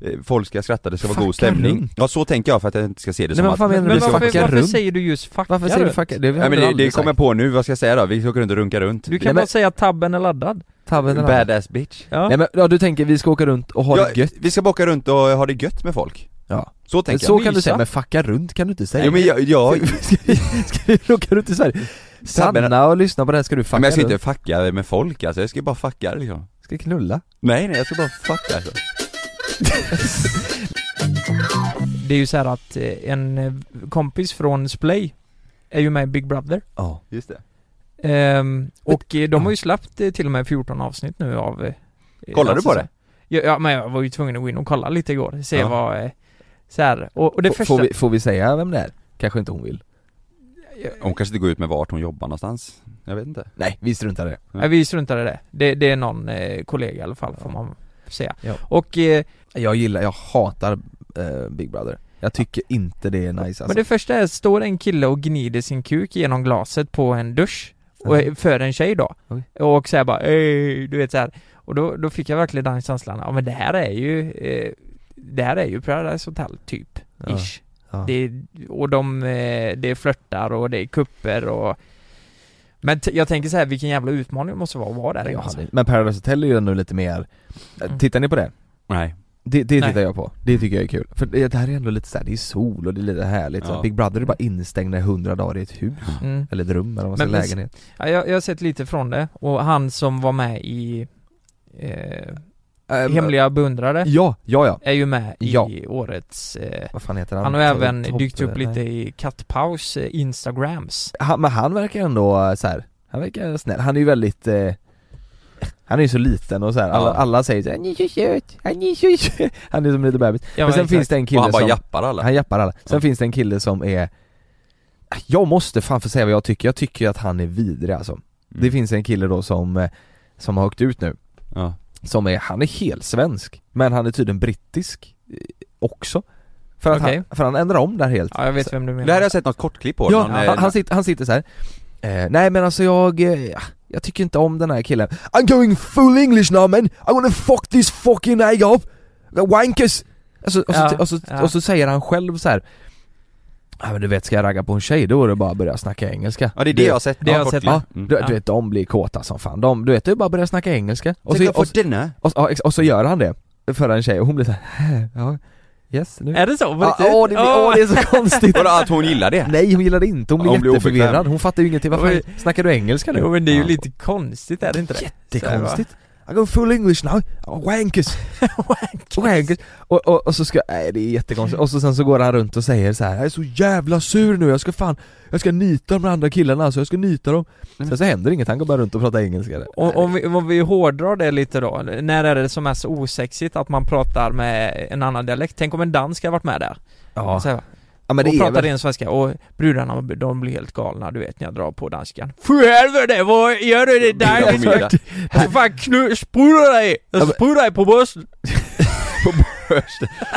Speaker 3: eh, Folk ska skratta, det ska vara
Speaker 1: Fucka
Speaker 3: god stämning.
Speaker 1: runt.
Speaker 3: Ja så tänker jag för att jag inte ska se det
Speaker 1: Nej,
Speaker 3: som
Speaker 1: men
Speaker 3: att
Speaker 1: vad menar
Speaker 2: Men
Speaker 1: du?
Speaker 3: vi ska
Speaker 1: Fucka
Speaker 2: varför, varför
Speaker 1: runt.
Speaker 2: säger du just fucka
Speaker 1: Varför säger du
Speaker 2: runt?
Speaker 1: fuck Det
Speaker 3: Nej,
Speaker 1: har
Speaker 3: men
Speaker 1: du
Speaker 3: det,
Speaker 1: aldrig
Speaker 3: det kommer jag
Speaker 1: sagt.
Speaker 3: på nu, vad ska jag säga då? Vi ska åka runt och runka runt.
Speaker 2: Du kan
Speaker 1: Nej,
Speaker 2: bara
Speaker 1: men-
Speaker 2: säga att tabben är laddad.
Speaker 1: Tabben eller annat.
Speaker 3: Badass bitch.
Speaker 2: Ja.
Speaker 1: Nej men ja, du tänker vi ska åka runt och ha
Speaker 3: Ja,
Speaker 1: det gött
Speaker 3: Vi ska bara åka runt och ha det gött med folk.
Speaker 1: Ja,
Speaker 3: Så tänker
Speaker 1: så
Speaker 3: jag.
Speaker 1: kan du
Speaker 2: Mysa.
Speaker 1: säga, men fucka runt kan du inte säga
Speaker 3: Jo men jag, jag,
Speaker 1: ska, vi, ska vi åka runt i Sverige? Stanna och lyssna på det här ska du fucka
Speaker 3: men jag ska
Speaker 1: runt.
Speaker 3: inte fucka med folk alltså, jag ska ju bara fucka liksom.
Speaker 1: Ska knulla?
Speaker 3: Nej nej, jag ska bara fucka alltså.
Speaker 2: Det är ju så här att eh, en eh, kompis från Splay är ju med i Big Brother.
Speaker 1: Ja
Speaker 3: Just det.
Speaker 2: Ehm, och eh, de har ju släppt eh, till och med 14 avsnitt nu av... eh,
Speaker 3: Kollar du på
Speaker 2: så-
Speaker 3: det?
Speaker 2: Ja, ja men jag var ju tvungen att gå in och kolla lite igår, se
Speaker 3: Ja.
Speaker 2: vad eh, så här. Och, och det
Speaker 1: F-
Speaker 2: första...
Speaker 1: får, vi, får vi säga vem det är? Kanske inte hon vill?
Speaker 3: Hon kanske inte går ut med vart hon jobbar någonstans. Jag vet inte.
Speaker 1: Nej, vi struntar i det
Speaker 2: Nej, vi struntade i det. det. Det är någon eh, kollega i alla fall får man säga.
Speaker 1: Ja.
Speaker 2: Och, eh,
Speaker 1: Jag gillar, jag hatar eh, Big Brother Jag tycker inte det är nice alltså.
Speaker 2: men det första är, står en kille och gnider sin kuk genom glaset på en dusch och,
Speaker 1: Mhm.
Speaker 2: för en tjej då.
Speaker 1: Oj.
Speaker 2: Och säger bara "Ey", du vet så här. Och då, då fick jag verkligen den känslan, ja men det här är ju, eh, det här är ju Paradise Hotel typ,
Speaker 1: Ja.
Speaker 2: ish.
Speaker 1: Ja.
Speaker 2: Det, är- och de, eh, det är flörtar och det är kupper och men t- jag tänker så här, vilken jävla utmaning det måste vara att vara där
Speaker 1: Jag
Speaker 2: inne, alltså.
Speaker 1: hade- Men Paradise Hotel är ju ännu lite mer, eh,
Speaker 2: Mm.
Speaker 1: tittar ni på det?
Speaker 3: Nej.
Speaker 1: Det, det tittar
Speaker 2: Nej.
Speaker 1: jag på, det tycker jag är kul. För det, det här är ändå lite såhär, det är sol och det är lite härligt, så
Speaker 3: Ja.
Speaker 1: Big Brother är bara instängda i hundra dagar i ett hus,
Speaker 2: Mm.
Speaker 1: eller ett rum eller vad man
Speaker 2: Men-
Speaker 1: säger,
Speaker 2: men-
Speaker 1: lägenhet
Speaker 2: Ja, jag, jag har sett lite från det, och han som var med i eh,
Speaker 1: Ehm,
Speaker 2: Hemliga beundrare
Speaker 1: Ja, ja ja,
Speaker 2: är ju med i
Speaker 1: Ja.
Speaker 2: årets eh,
Speaker 1: vad fan heter han?
Speaker 2: Han har även
Speaker 1: Topp-
Speaker 2: dykt upp
Speaker 1: nej.
Speaker 2: lite i Kattpaus eh, Instagrams
Speaker 1: han, Men han verkar ändå eh, så här. han verkar snäll, han är ju väldigt eh, han är ju så liten och så här. Alla,
Speaker 3: Ja.
Speaker 1: alla säger så här, han är så söt, han är så söt Han är som en liten bebis,
Speaker 2: Ja,
Speaker 1: men sen
Speaker 2: exakt.
Speaker 1: finns det en kille
Speaker 3: Och han bara
Speaker 1: som,
Speaker 3: jappar alla.
Speaker 1: han jappar alla, sen
Speaker 3: Ja.
Speaker 1: finns det en kille som är Jag måste fan få säga vad jag tycker, jag tycker att han är vidrig alltså
Speaker 2: Mm.
Speaker 1: Det finns en kille då som, eh, som har åkt ut nu
Speaker 3: Ja.
Speaker 1: Som är, han är helt svensk Men han är tydligen brittisk eh, också För att,
Speaker 2: Okej.
Speaker 1: han, för han ändrar om där helt
Speaker 2: Ja jag vet vem du menar
Speaker 3: Det här har jag sett något kortklipp på.
Speaker 1: Ja,
Speaker 3: Någon, eh,
Speaker 1: han, han, sitter, han sitter så här. Eh, nej men alltså jag, eh, ja, jag tycker inte om den här killen I'm going full English now man, I wanna fuck this fucking egg up, the wankers! Alltså, och, så,
Speaker 2: Ja,
Speaker 1: och, så,
Speaker 2: ja.
Speaker 1: och så säger han själv så här. Ja men du vet, ska jag ragga på en tjej då är det bara att börja snacka engelska
Speaker 3: Ja det är det jag har sett,
Speaker 2: Det har jag
Speaker 3: kortklipp.
Speaker 1: Ja,
Speaker 3: Mm.
Speaker 1: du,
Speaker 2: Ja.
Speaker 1: du vet de blir kåta som fan, de, du vet det är bara att börja snacka engelska och så,
Speaker 3: Tänk
Speaker 1: och,
Speaker 3: att få dinner.
Speaker 1: och, och, och så gör han det för en tjej och hon blir så här, ja, yes nu
Speaker 2: Är det så? På
Speaker 1: Ja,
Speaker 2: riktigt?
Speaker 1: Ah, åh, det, blir- åh, det är så konstigt!
Speaker 3: Vadå att hon gillar det?
Speaker 1: Nej hon gillar det inte, hon blir
Speaker 3: Hon blir obekväm.
Speaker 1: jätteförvirrad, hon fattar ju ingenting, vad fan, snackar du engelska nu?
Speaker 2: Jo men det är ju
Speaker 3: Ja.
Speaker 2: lite konstigt är det inte det?
Speaker 1: Jättekonstigt I go full english now, oh, wankers, wankers och, och, och så ska, nej det är jättekonstigt, och så sen så går han runt och säger så här: jag är så jävla sur nu, jag ska fan, jag ska nita de andra killarna alltså, jag ska nita dem
Speaker 2: Mm.
Speaker 1: Sen så händer inget, han går bara runt och pratar engelska där.
Speaker 2: Om, om, vi, om vi hårdrar det lite då, när är det som är så osexigt att man pratar med en annan dialekt? Tänk om en dansk hade varit med där?
Speaker 1: Ja,
Speaker 2: Så här,
Speaker 1: ja men det
Speaker 2: och
Speaker 1: är
Speaker 2: pratar
Speaker 1: väl,
Speaker 2: ren svenska och brudarna de blir helt galna du vet när jag drar på danskan För helvete vad gör du det där?
Speaker 3: Ja, de gillar.
Speaker 2: Jag ska fan knu- spruta dig!
Speaker 1: Ja,
Speaker 2: Jag
Speaker 1: men-
Speaker 2: sprutar dig på bröstet!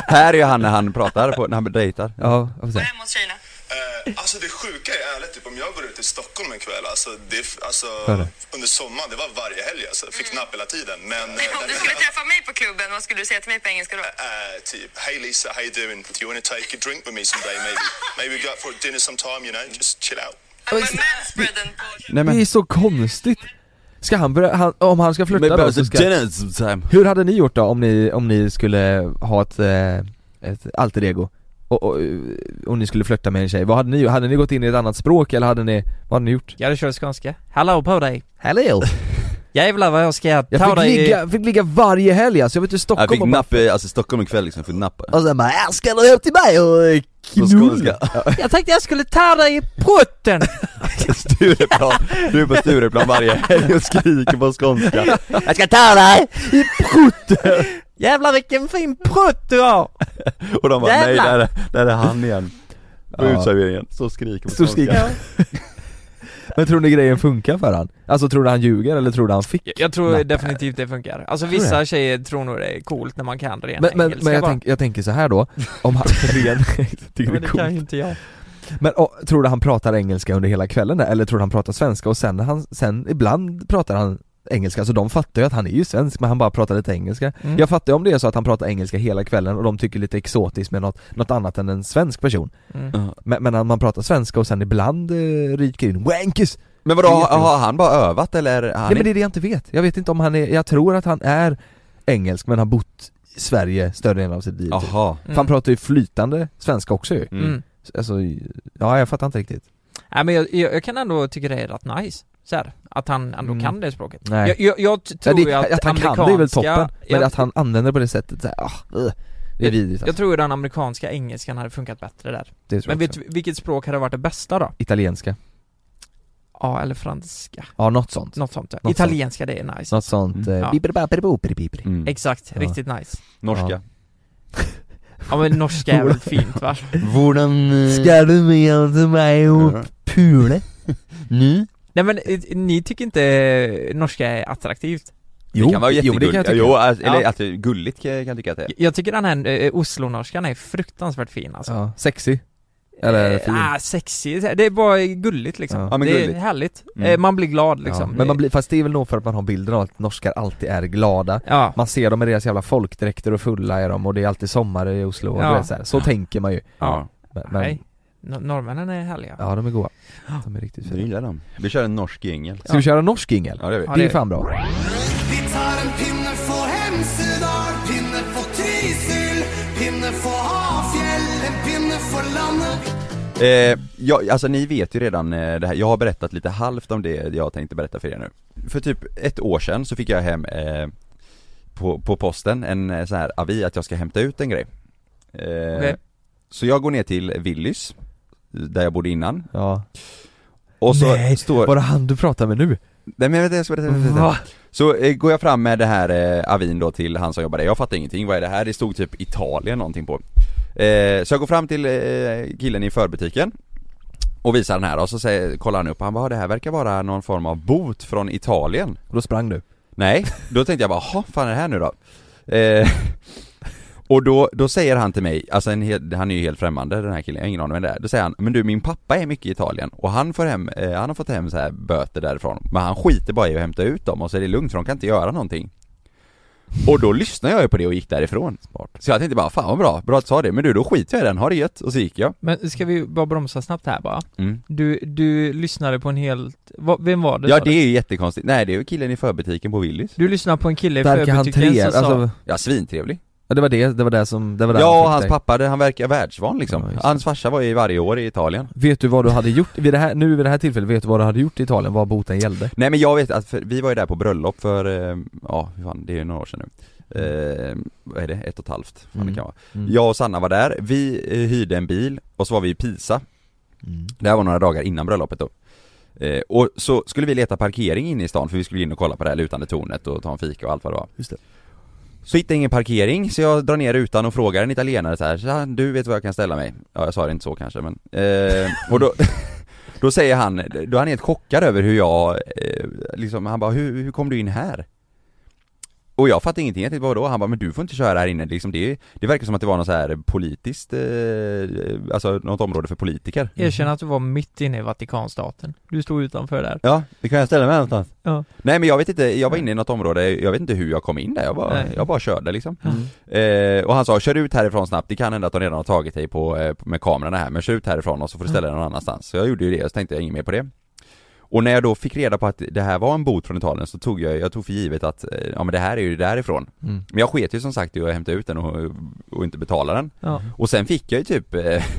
Speaker 3: Här är ju han när han pratar, på, när han dejtar.
Speaker 1: ja, vad säger
Speaker 4: Hem hos tjejerna.
Speaker 5: Eh, alltså det sjuka är ärligt, typ, om jag går ut i Stockholm en kväll, alltså, det, alltså,
Speaker 1: Hörru.
Speaker 5: under sommaren, det var varje helg alltså, jag fick napp hela tiden. Men, eh,
Speaker 4: Om du skulle träffa mig på klubben, vad skulle du säga till mig på engelska då?
Speaker 5: eh, typ, hey Lisa, how you doing? Do you want to take a drink with me someday maybe? Maybe we go out for dinner sometime, you know, just chill out.
Speaker 4: Men manspreaden på...
Speaker 3: Nej
Speaker 1: jag? Det är så konstigt! Ska han börja, han, om han ska
Speaker 3: Men
Speaker 1: flytta då
Speaker 3: bara
Speaker 1: så
Speaker 3: så
Speaker 1: ska,
Speaker 3: dinner sometime.
Speaker 1: Hur hade ni gjort då om ni, om ni skulle ha ett, eh, ett alter ego? Och, och, eh, om ni skulle flörta med en tjej, vad hade ni Hade ni gått in i ett annat språk eller hade ni, vad hade ni gjort?
Speaker 2: Jag hade kört skånska, hallå på dig!
Speaker 1: Hello!
Speaker 2: Jävlar vad jag ska ta
Speaker 1: Jag fick
Speaker 2: dig i-
Speaker 1: ligga, fick ligga varje helg alltså, jag vet inte
Speaker 3: Jag
Speaker 1: Stockholm
Speaker 3: fick
Speaker 1: och bara,
Speaker 3: napp, i- alltså Stockholm ikväll liksom, fick napp.
Speaker 1: och sen bara 'Jag ska du upp till mig och eh,
Speaker 3: På
Speaker 1: knulla'
Speaker 3: skånska.
Speaker 2: Jag tänkte jag skulle ta dig i putten!
Speaker 3: Stureplan, du är på Stureplan varje helg och skriker på skånska.
Speaker 1: Jag ska ta dig!
Speaker 2: Jävlar vilken fin prutt du har!
Speaker 3: Och de bara nej,
Speaker 2: Jävlar.
Speaker 3: där, är- där är han igen. På
Speaker 1: Ja.
Speaker 3: utserveringen, så skriker
Speaker 1: Så
Speaker 3: på skånska.
Speaker 1: skriker Men tror ni grejen funkar för han? Alltså tror du han ljuger eller tror du han fick?
Speaker 2: Jag tror
Speaker 1: Nej.
Speaker 2: definitivt det funkar. Alltså
Speaker 1: Tror du
Speaker 2: vissa
Speaker 1: det?
Speaker 2: tjejer tror nog det är coolt när man kan ren
Speaker 1: Men, men,
Speaker 2: engelska
Speaker 1: men jag,
Speaker 2: bara.
Speaker 1: tänk, jag tänker så här då, om han... Ren, tycker det
Speaker 2: men
Speaker 1: är
Speaker 2: det
Speaker 1: coolt.
Speaker 2: kan ju inte jag.
Speaker 1: Men och, tror du han pratar engelska under hela kvällen där, eller tror du han pratar svenska och sen, när han, sen ibland pratar han engelska, så de fattar ju att han är ju svensk men han bara pratar lite engelska
Speaker 2: Mm.
Speaker 1: Jag fattar ju om det är så att han pratar engelska hela kvällen och de tycker lite exotiskt med något, något annat än en svensk person
Speaker 2: Mm.
Speaker 1: Men, men man pratar svenska och sen ibland eh, ryker in 'wankers'
Speaker 3: Men vadå, har, har han bara övat eller? är Han
Speaker 1: Nej men det är det jag inte vet, jag vet inte om han är, jag tror att han är engelsk men har bott i Sverige större delen av sitt liv typ.
Speaker 3: Jaha.
Speaker 1: För han pratar ju flytande svenska också ju
Speaker 2: Mm. Mm.
Speaker 1: Alltså, ja jag fattar inte riktigt
Speaker 2: Nej men jag, jag, jag kan ändå tycka det är rätt nice. Så här, att han ändå
Speaker 1: Mm.
Speaker 2: kan det språket.
Speaker 1: Nej.
Speaker 2: Jag, jag, jag t-
Speaker 1: Ja,
Speaker 2: tror
Speaker 1: det,
Speaker 2: ju att,
Speaker 1: att, han kan det är väl
Speaker 2: amerikanska-
Speaker 1: toppen, men alltså-
Speaker 2: jag,
Speaker 1: att han använder det på det sättet så här, ah, eh, det är vidrigt
Speaker 2: Jag
Speaker 1: alltså.
Speaker 2: tror ju den amerikanska engelskan hade funkat bättre där.
Speaker 1: det tror
Speaker 2: Men
Speaker 1: jag
Speaker 2: vet
Speaker 1: vet
Speaker 2: du vilket språk hade varit det bästa då?
Speaker 1: Italienska,
Speaker 2: Ja, eller franska.
Speaker 1: Ja, något sånt.
Speaker 2: Något sånt. där.
Speaker 1: Något
Speaker 2: Italienska, det är nice.
Speaker 1: Något sånt,
Speaker 3: Mm.
Speaker 1: eh,
Speaker 2: Ja.
Speaker 1: bibbidi-babbidi-bo, bibbidi-bibbidi.
Speaker 3: Mm.
Speaker 2: Exakt,
Speaker 1: Ja.
Speaker 2: riktigt nice.
Speaker 3: Norska.
Speaker 2: Ja men norska är väl fint va?
Speaker 6: Hvordan eh,
Speaker 1: Mm. Ska du med till mig och pule? Nu?
Speaker 2: Nej men eh, ni tycker inte eh, norska är attraktivt?
Speaker 1: Jo,
Speaker 3: det kan vara
Speaker 1: jo, det
Speaker 3: jättegulligt.
Speaker 1: kan jag tycka.
Speaker 3: Jo, alltså, eller
Speaker 2: Ja.
Speaker 3: att det är gulligt kan jag kan jag tycka att det är.
Speaker 2: Jag- Jag tycker den här eh, Oslo-norskan är fruktansvärt fin alltså.
Speaker 1: Ja, sexy. Eller
Speaker 2: Eh,
Speaker 1: fin.
Speaker 2: Ah, sexig, det är bara gulligt liksom.
Speaker 1: Ja.
Speaker 3: Ja, men
Speaker 2: det
Speaker 3: gulligt.
Speaker 2: är härligt.
Speaker 3: Mm.
Speaker 2: Eh, Man blir glad liksom.
Speaker 1: Ja. Men man blir, fast det är väl nog för att man har bilden av att norskar alltid är glada.
Speaker 2: Ja.
Speaker 1: Man ser dem i deras jävla folkdräkter och fulla är de och det är alltid sommar i Oslo och
Speaker 2: Ja.
Speaker 1: du vet så, här. så tänker man ju.
Speaker 2: Ja.
Speaker 1: Men, men
Speaker 2: Nej. No- Norrmännen är härliga.
Speaker 1: ja, de är goa. De är riktigt
Speaker 3: Du
Speaker 1: fina.
Speaker 3: gillar dem. Vi kör en norsk jingel.
Speaker 1: Ska vi köra norsk jingel?
Speaker 3: Ja det gör
Speaker 1: Det är
Speaker 2: det-
Speaker 1: fan bra.
Speaker 7: Vi tar en pinne for Hemsedal, pinne for Trysil, pinne for Hafjell, en pinne for landet.
Speaker 3: vi. Eh, ja, alltså ni vet ju redan eh, det här, jag har berättat lite halvt om det jag tänkte berätta för er nu. För typ ett år sedan så fick jag hem eh, på, på posten en eh, sån här avi att jag ska hämta ut en grej. Eh,
Speaker 2: Okej.
Speaker 3: Så jag går ner till Willys, där jag bodde innan.
Speaker 1: Ja.
Speaker 3: Och så
Speaker 1: Nej,
Speaker 3: står...
Speaker 1: Var det han du pratar med nu?
Speaker 3: Nej men vänta, jag ska berätta, berätta, berätta.
Speaker 1: Va?
Speaker 3: Så eh, går jag fram med det här eh, avin då till han som jobbar där, jag fattar ingenting, vad är det här? Det stod typ Italien någonting på eh, Så jag går fram till eh, killen i förbutiken Och visar den här och så säger, kollar han upp, han bara "Ah, det här verkar vara någon form av bot från Italien
Speaker 1: Och då sprang du.
Speaker 3: Nej, då tänkte jag bara, jaha, fan är det här nu då? Eh, och då, då säger han till mig, alltså en hel, han är ju helt främmande den här killen, jag har ingen aning om det är. Då säger han, men du min pappa är mycket i Italien och han får hem, eh, han har fått hem så här böter därifrån Men han skiter bara i att hämta ut dem och så är det lugnt för de kan inte göra någonting Och då lyssnade jag ju på det och gick därifrån Så jag tänkte bara, fan vad bra, bra att du sa det, men du då skiter jag i den, ha det gött, och så gick jag
Speaker 2: Men ska vi bara bromsa snabbt här bara?
Speaker 3: Mm.
Speaker 2: Du, du lyssnade på en helt... vad- vem var det?
Speaker 3: Ja
Speaker 2: sa du?
Speaker 3: det är ju jättekonstigt, nej det är ju killen i förbutiken på Willys
Speaker 2: Du lyssnade på en kille i
Speaker 1: Verkar han
Speaker 2: förbutiken
Speaker 1: trevlig?
Speaker 2: som sa...
Speaker 1: Alltså,
Speaker 3: Ja svintrevlig
Speaker 1: ja, det var det, det var det som, det var det
Speaker 3: Ja och
Speaker 1: fick
Speaker 3: hans
Speaker 1: dig.
Speaker 3: pappa, det- han verkar världsvan
Speaker 1: Ja,
Speaker 3: liksom
Speaker 1: just det.
Speaker 3: Hans farsa var ju varje år i Italien
Speaker 1: Vet du vad du hade gjort, vid det här, nu vid det här tillfället, vet du vad du hade gjort i Italien, vad boten gällde?
Speaker 3: Nej men jag vet att, för, vi var ju där på bröllop för, eh, ja hur fan, det är ju några år sedan nu eh, Vad är det? Ett och ett halvt? Fan,
Speaker 1: Mm.
Speaker 3: det kan vara.
Speaker 1: Mm.
Speaker 3: Jag och Sanna var där, vi eh, hyrde en bil och så var vi i Pisa
Speaker 1: Mm.
Speaker 3: Det här var några dagar innan bröllopet då eh, Och så skulle vi leta parkering inne i stan för vi skulle in och kolla på det här lutande tornet och ta en fika och allt vad det var
Speaker 1: Just det.
Speaker 3: Så hittade jag ingen parkering så jag drar ner rutan och frågar en italienare så här, "Tja, du vet var jag kan ställa mig? Ja jag sa det inte så kanske men, eh, och då Då säger han, då är han helt chockad över hur jag, eh, liksom, han bara hur, hur kom du in här? Och jag fattade ingenting, jag tänkte vadå? Han bara men du får inte köra här inne liksom, det, det verkar som att det var något så här politiskt, eh, alltså något område för politiker
Speaker 2: Erkänn att du var mitt inne i Vatikanstaten. Du stod utanför där.
Speaker 3: Ja, det kan jag ställa mig någonstans
Speaker 2: Ja.
Speaker 3: Nej men jag vet inte, jag var inne i något område, jag vet inte hur jag kom in där, jag bara,
Speaker 2: Nej.
Speaker 3: jag bara körde liksom eh, Och han sa, kör ut härifrån snabbt, det kan hända att de redan har tagit dig på, eh, med kamerorna här, men kör ut härifrån och så får du ställa dig någon annanstans Så jag gjorde ju det, så tänkte jag inget mer på det Och när jag då fick reda på att det här var en bot från Italien så tog jag, jag tog för givet att, eh, ja men det här är ju därifrån
Speaker 1: Mm.
Speaker 3: Men jag sket ju som sagt i att hämta ut den och, och inte betala den
Speaker 2: Ja.
Speaker 3: och sen fick jag ju typ eh,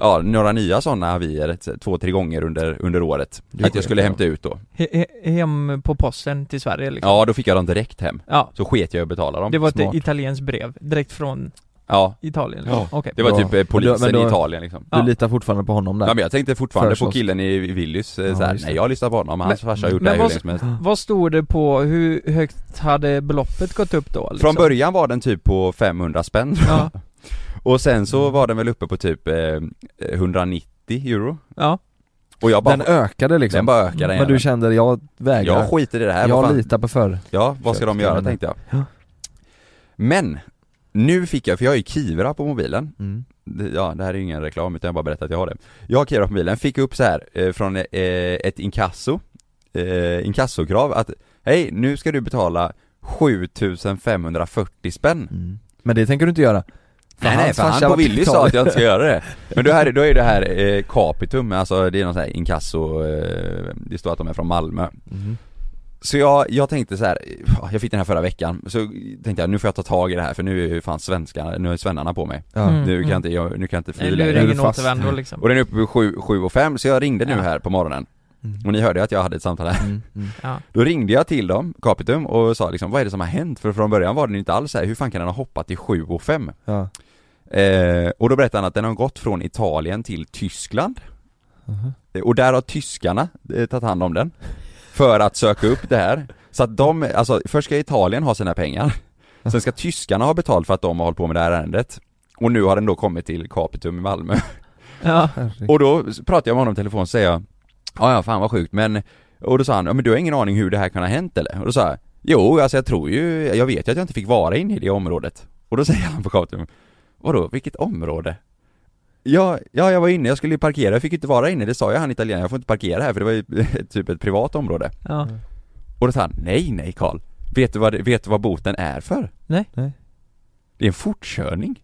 Speaker 3: Ja, några nya sådana avier ett- två, tre gånger under, under året Att jag skulle hämta ut då
Speaker 2: He- he- Hem på posten till Sverige liksom.
Speaker 3: Ja, då fick jag dem direkt hem
Speaker 2: Ja.
Speaker 3: Så sket jag i att betala dem
Speaker 2: Det var
Speaker 1: Smart.
Speaker 2: ett italienskt brev, direkt från
Speaker 3: Ja,
Speaker 2: Italien liksom.
Speaker 3: Ja.
Speaker 2: Okej.
Speaker 3: det var
Speaker 1: Bra.
Speaker 3: typ eh, polisen
Speaker 1: Men då-
Speaker 3: i Italien liksom
Speaker 1: Du
Speaker 2: Ja.
Speaker 1: litar fortfarande på honom där?
Speaker 3: Ja men jag tänkte fortfarande på
Speaker 1: Förstås.
Speaker 3: killen i i Willys, eh,
Speaker 1: Ja,
Speaker 3: såhär,
Speaker 1: just det.
Speaker 3: nej jag har lyssnat på honom, hans
Speaker 2: Men-
Speaker 3: farsa har gjort det
Speaker 2: men
Speaker 3: här hur
Speaker 2: vad-
Speaker 3: länge som helst
Speaker 2: Vad stod det på, hur högt hade beloppet gått upp då? Liksom?
Speaker 3: Från början var den typ på 500 spänn
Speaker 2: Ja,
Speaker 3: Och sen så var den väl uppe på typ eh, 190 euro
Speaker 2: ja.
Speaker 3: Och jag bara,
Speaker 1: den
Speaker 3: den,
Speaker 1: ökade liksom?
Speaker 3: bara ökade
Speaker 1: men du kände, jag vägrar?
Speaker 3: Jag skiter i det här, vad
Speaker 1: jag
Speaker 3: fan,
Speaker 1: litar på förr
Speaker 3: Ja, vad ska de göra
Speaker 1: Köpskillarna.
Speaker 3: tänkte jag.
Speaker 1: Ja.
Speaker 3: Men, nu fick jag, för jag har ju Kivra på mobilen,
Speaker 1: mm.
Speaker 3: Det- ja det här är ju ingen reklam utan jag bara berättar att jag har det. Jag har Kivra på mobilen, fick upp så här eh, från eh, ett inkasso, eh, inkassokrav att hej nu ska du betala 7540 spänn.
Speaker 1: Mm. Men det tänker du inte göra?
Speaker 3: nej nej,
Speaker 1: hans
Speaker 3: för
Speaker 1: farsa
Speaker 3: han
Speaker 1: var
Speaker 3: på Willys sa
Speaker 1: kapitalet.
Speaker 3: att jag inte ska göra det. Men då, här, då är det här eh, Capitum, alltså det är någon sån här inkasso, eh, det står att de är från Malmö.
Speaker 1: Mm.
Speaker 3: Så jag, jag tänkte så här, ja, jag fick den här förra veckan, så tänkte jag nu får jag ta tag i det här för nu är ju fan svenskarna, nu är svennarna på mig
Speaker 1: Ja.
Speaker 2: Mm.
Speaker 3: Nu kan jag inte, jag, nu kan jag inte fly
Speaker 2: Nej, nu är
Speaker 3: längre.
Speaker 2: det
Speaker 1: är
Speaker 2: ingen
Speaker 1: du fast.
Speaker 2: återvändo liksom.
Speaker 3: Och den är uppe på sju sju och fem så jag ringde nu
Speaker 2: Ja.
Speaker 3: här på morgonen
Speaker 1: Mm.
Speaker 3: Och ni hörde ju att jag hade ett samtal här
Speaker 1: Mm. Mm.
Speaker 2: Ja.
Speaker 3: Då ringde jag till dem, Capitum, och sa liksom vad är det som har hänt? För från början var den inte alls så här, hur fan kan den ha hoppat till sju och fem?
Speaker 1: Ja.
Speaker 3: Eh, och då berättade han att den har gått från Italien till Tyskland
Speaker 1: Mhm.
Speaker 3: Och där har tyskarna eh, tagit hand om den. För att söka upp det här. Så att de, alltså först ska Italien ha sina pengar. Sen ska tyskarna ha betalt för att de har hållit på med det här ärendet. Och nu har den då kommit till Capitum i Malmö.
Speaker 2: Ja.
Speaker 1: Herregud.
Speaker 3: Och då pratade jag med honom i telefon och säger jag, ja ja fan vad sjukt men Och då sa han, ja men du har ingen aning hur det här kan ha hänt eller? Och då sa jag, jo alltså jag tror ju, jag vet ju att jag inte fick vara inne i det området Och då säger han på Capitum, vadå vilket område? Ja, ja jag var inne, jag skulle ju parkera, jag fick ju inte vara inne, det sa ju han italienaren, jag får inte parkera här för det var ju typ ett privat område
Speaker 2: ja.
Speaker 1: Mm.
Speaker 3: Och då sa han, nej nej Karl, vet du vad, det- vet du vad boten är för?
Speaker 2: Nej.
Speaker 1: Nej.
Speaker 3: Det är en fortkörning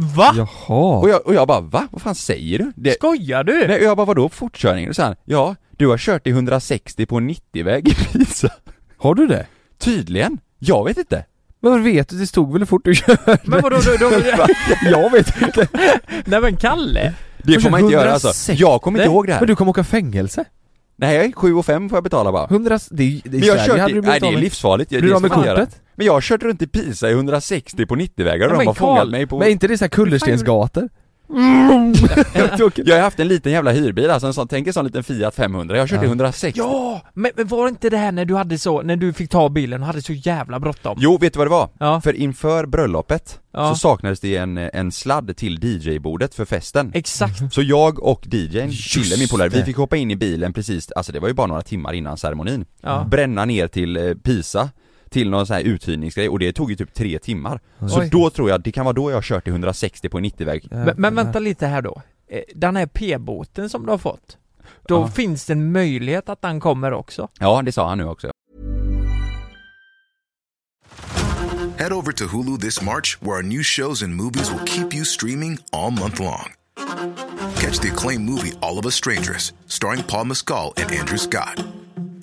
Speaker 1: Ah!
Speaker 2: Va?
Speaker 3: och,
Speaker 1: Jaha!
Speaker 3: jag, och jag bara, va? Vad fan säger du? Det,
Speaker 2: Skojar du?
Speaker 3: Nej, och jag bara vadå fortkörning? Då sa han, ja, du har kört i 160 på en 90-väg i Pisa.
Speaker 1: Har du det?
Speaker 3: Tydligen. Jag vet inte.
Speaker 1: Men vet du, det stod väl fort du körde?
Speaker 2: Men vadå, då, då,
Speaker 1: jag vet inte!
Speaker 2: nej men Kalle?
Speaker 3: Det får man inte göra alltså.
Speaker 1: 160?
Speaker 3: Jag kommer inte ihåg det här.
Speaker 1: Men du kommer åka fängelse?
Speaker 3: Nej, 7 och 5 får jag betala bara.
Speaker 1: 100, det är, det är
Speaker 3: Men jag har kört
Speaker 1: hade
Speaker 3: i,
Speaker 1: du blivit
Speaker 3: nej det
Speaker 1: av
Speaker 3: är
Speaker 1: med-
Speaker 3: livsfarligt. Jag-
Speaker 1: Blir
Speaker 3: det
Speaker 1: du av
Speaker 3: ska
Speaker 1: med
Speaker 3: man inte göra.
Speaker 1: kortet?
Speaker 3: Men jag har kört runt i Pisa i 160 på 90-vägar och de
Speaker 2: Ja, men
Speaker 3: har fångat
Speaker 2: Karl,
Speaker 3: mig på...
Speaker 1: Men är inte det så här kullerstensgator?
Speaker 3: Jag har haft en liten jävla hyrbil alltså, en sån, tänk en sån liten Fiat 500. Jag har kört i 160.
Speaker 2: Ja! Men, men var det inte det här när du hade så, när du fick ta bilen och hade så jävla bråttom?
Speaker 3: Jo, vet du vad det var?
Speaker 2: Ja.
Speaker 3: För inför bröllopet
Speaker 2: Ja.
Speaker 3: så saknades det en, en sladd till DJ-bordet för festen.
Speaker 2: Exakt.
Speaker 3: Så jag och DJn, Chille, min polare, vi
Speaker 1: det.
Speaker 3: fick hoppa in i bilen precis, alltså det var ju bara några timmar innan ceremonin
Speaker 2: Ja.
Speaker 3: Bränna ner till eh, Pisa Till någon sån här uthyrningsgrej och det tog ju typ tre timmar Så
Speaker 2: Oj.
Speaker 3: då tror jag, det kan vara då jag har kört i 160 på en 90-väg
Speaker 2: Men, men vänta lite här då. Eh, Den här p-boten som du har fått, då
Speaker 3: Ja.
Speaker 2: finns det en möjlighet att den kommer också?
Speaker 3: Ja, det sa han nu också
Speaker 8: Head over to Hulu this March, where our new shows and movies will keep you streaming all month long. Catch the acclaimed movie All of Us Strangers, starring Paul Mescal and Andrew Scott.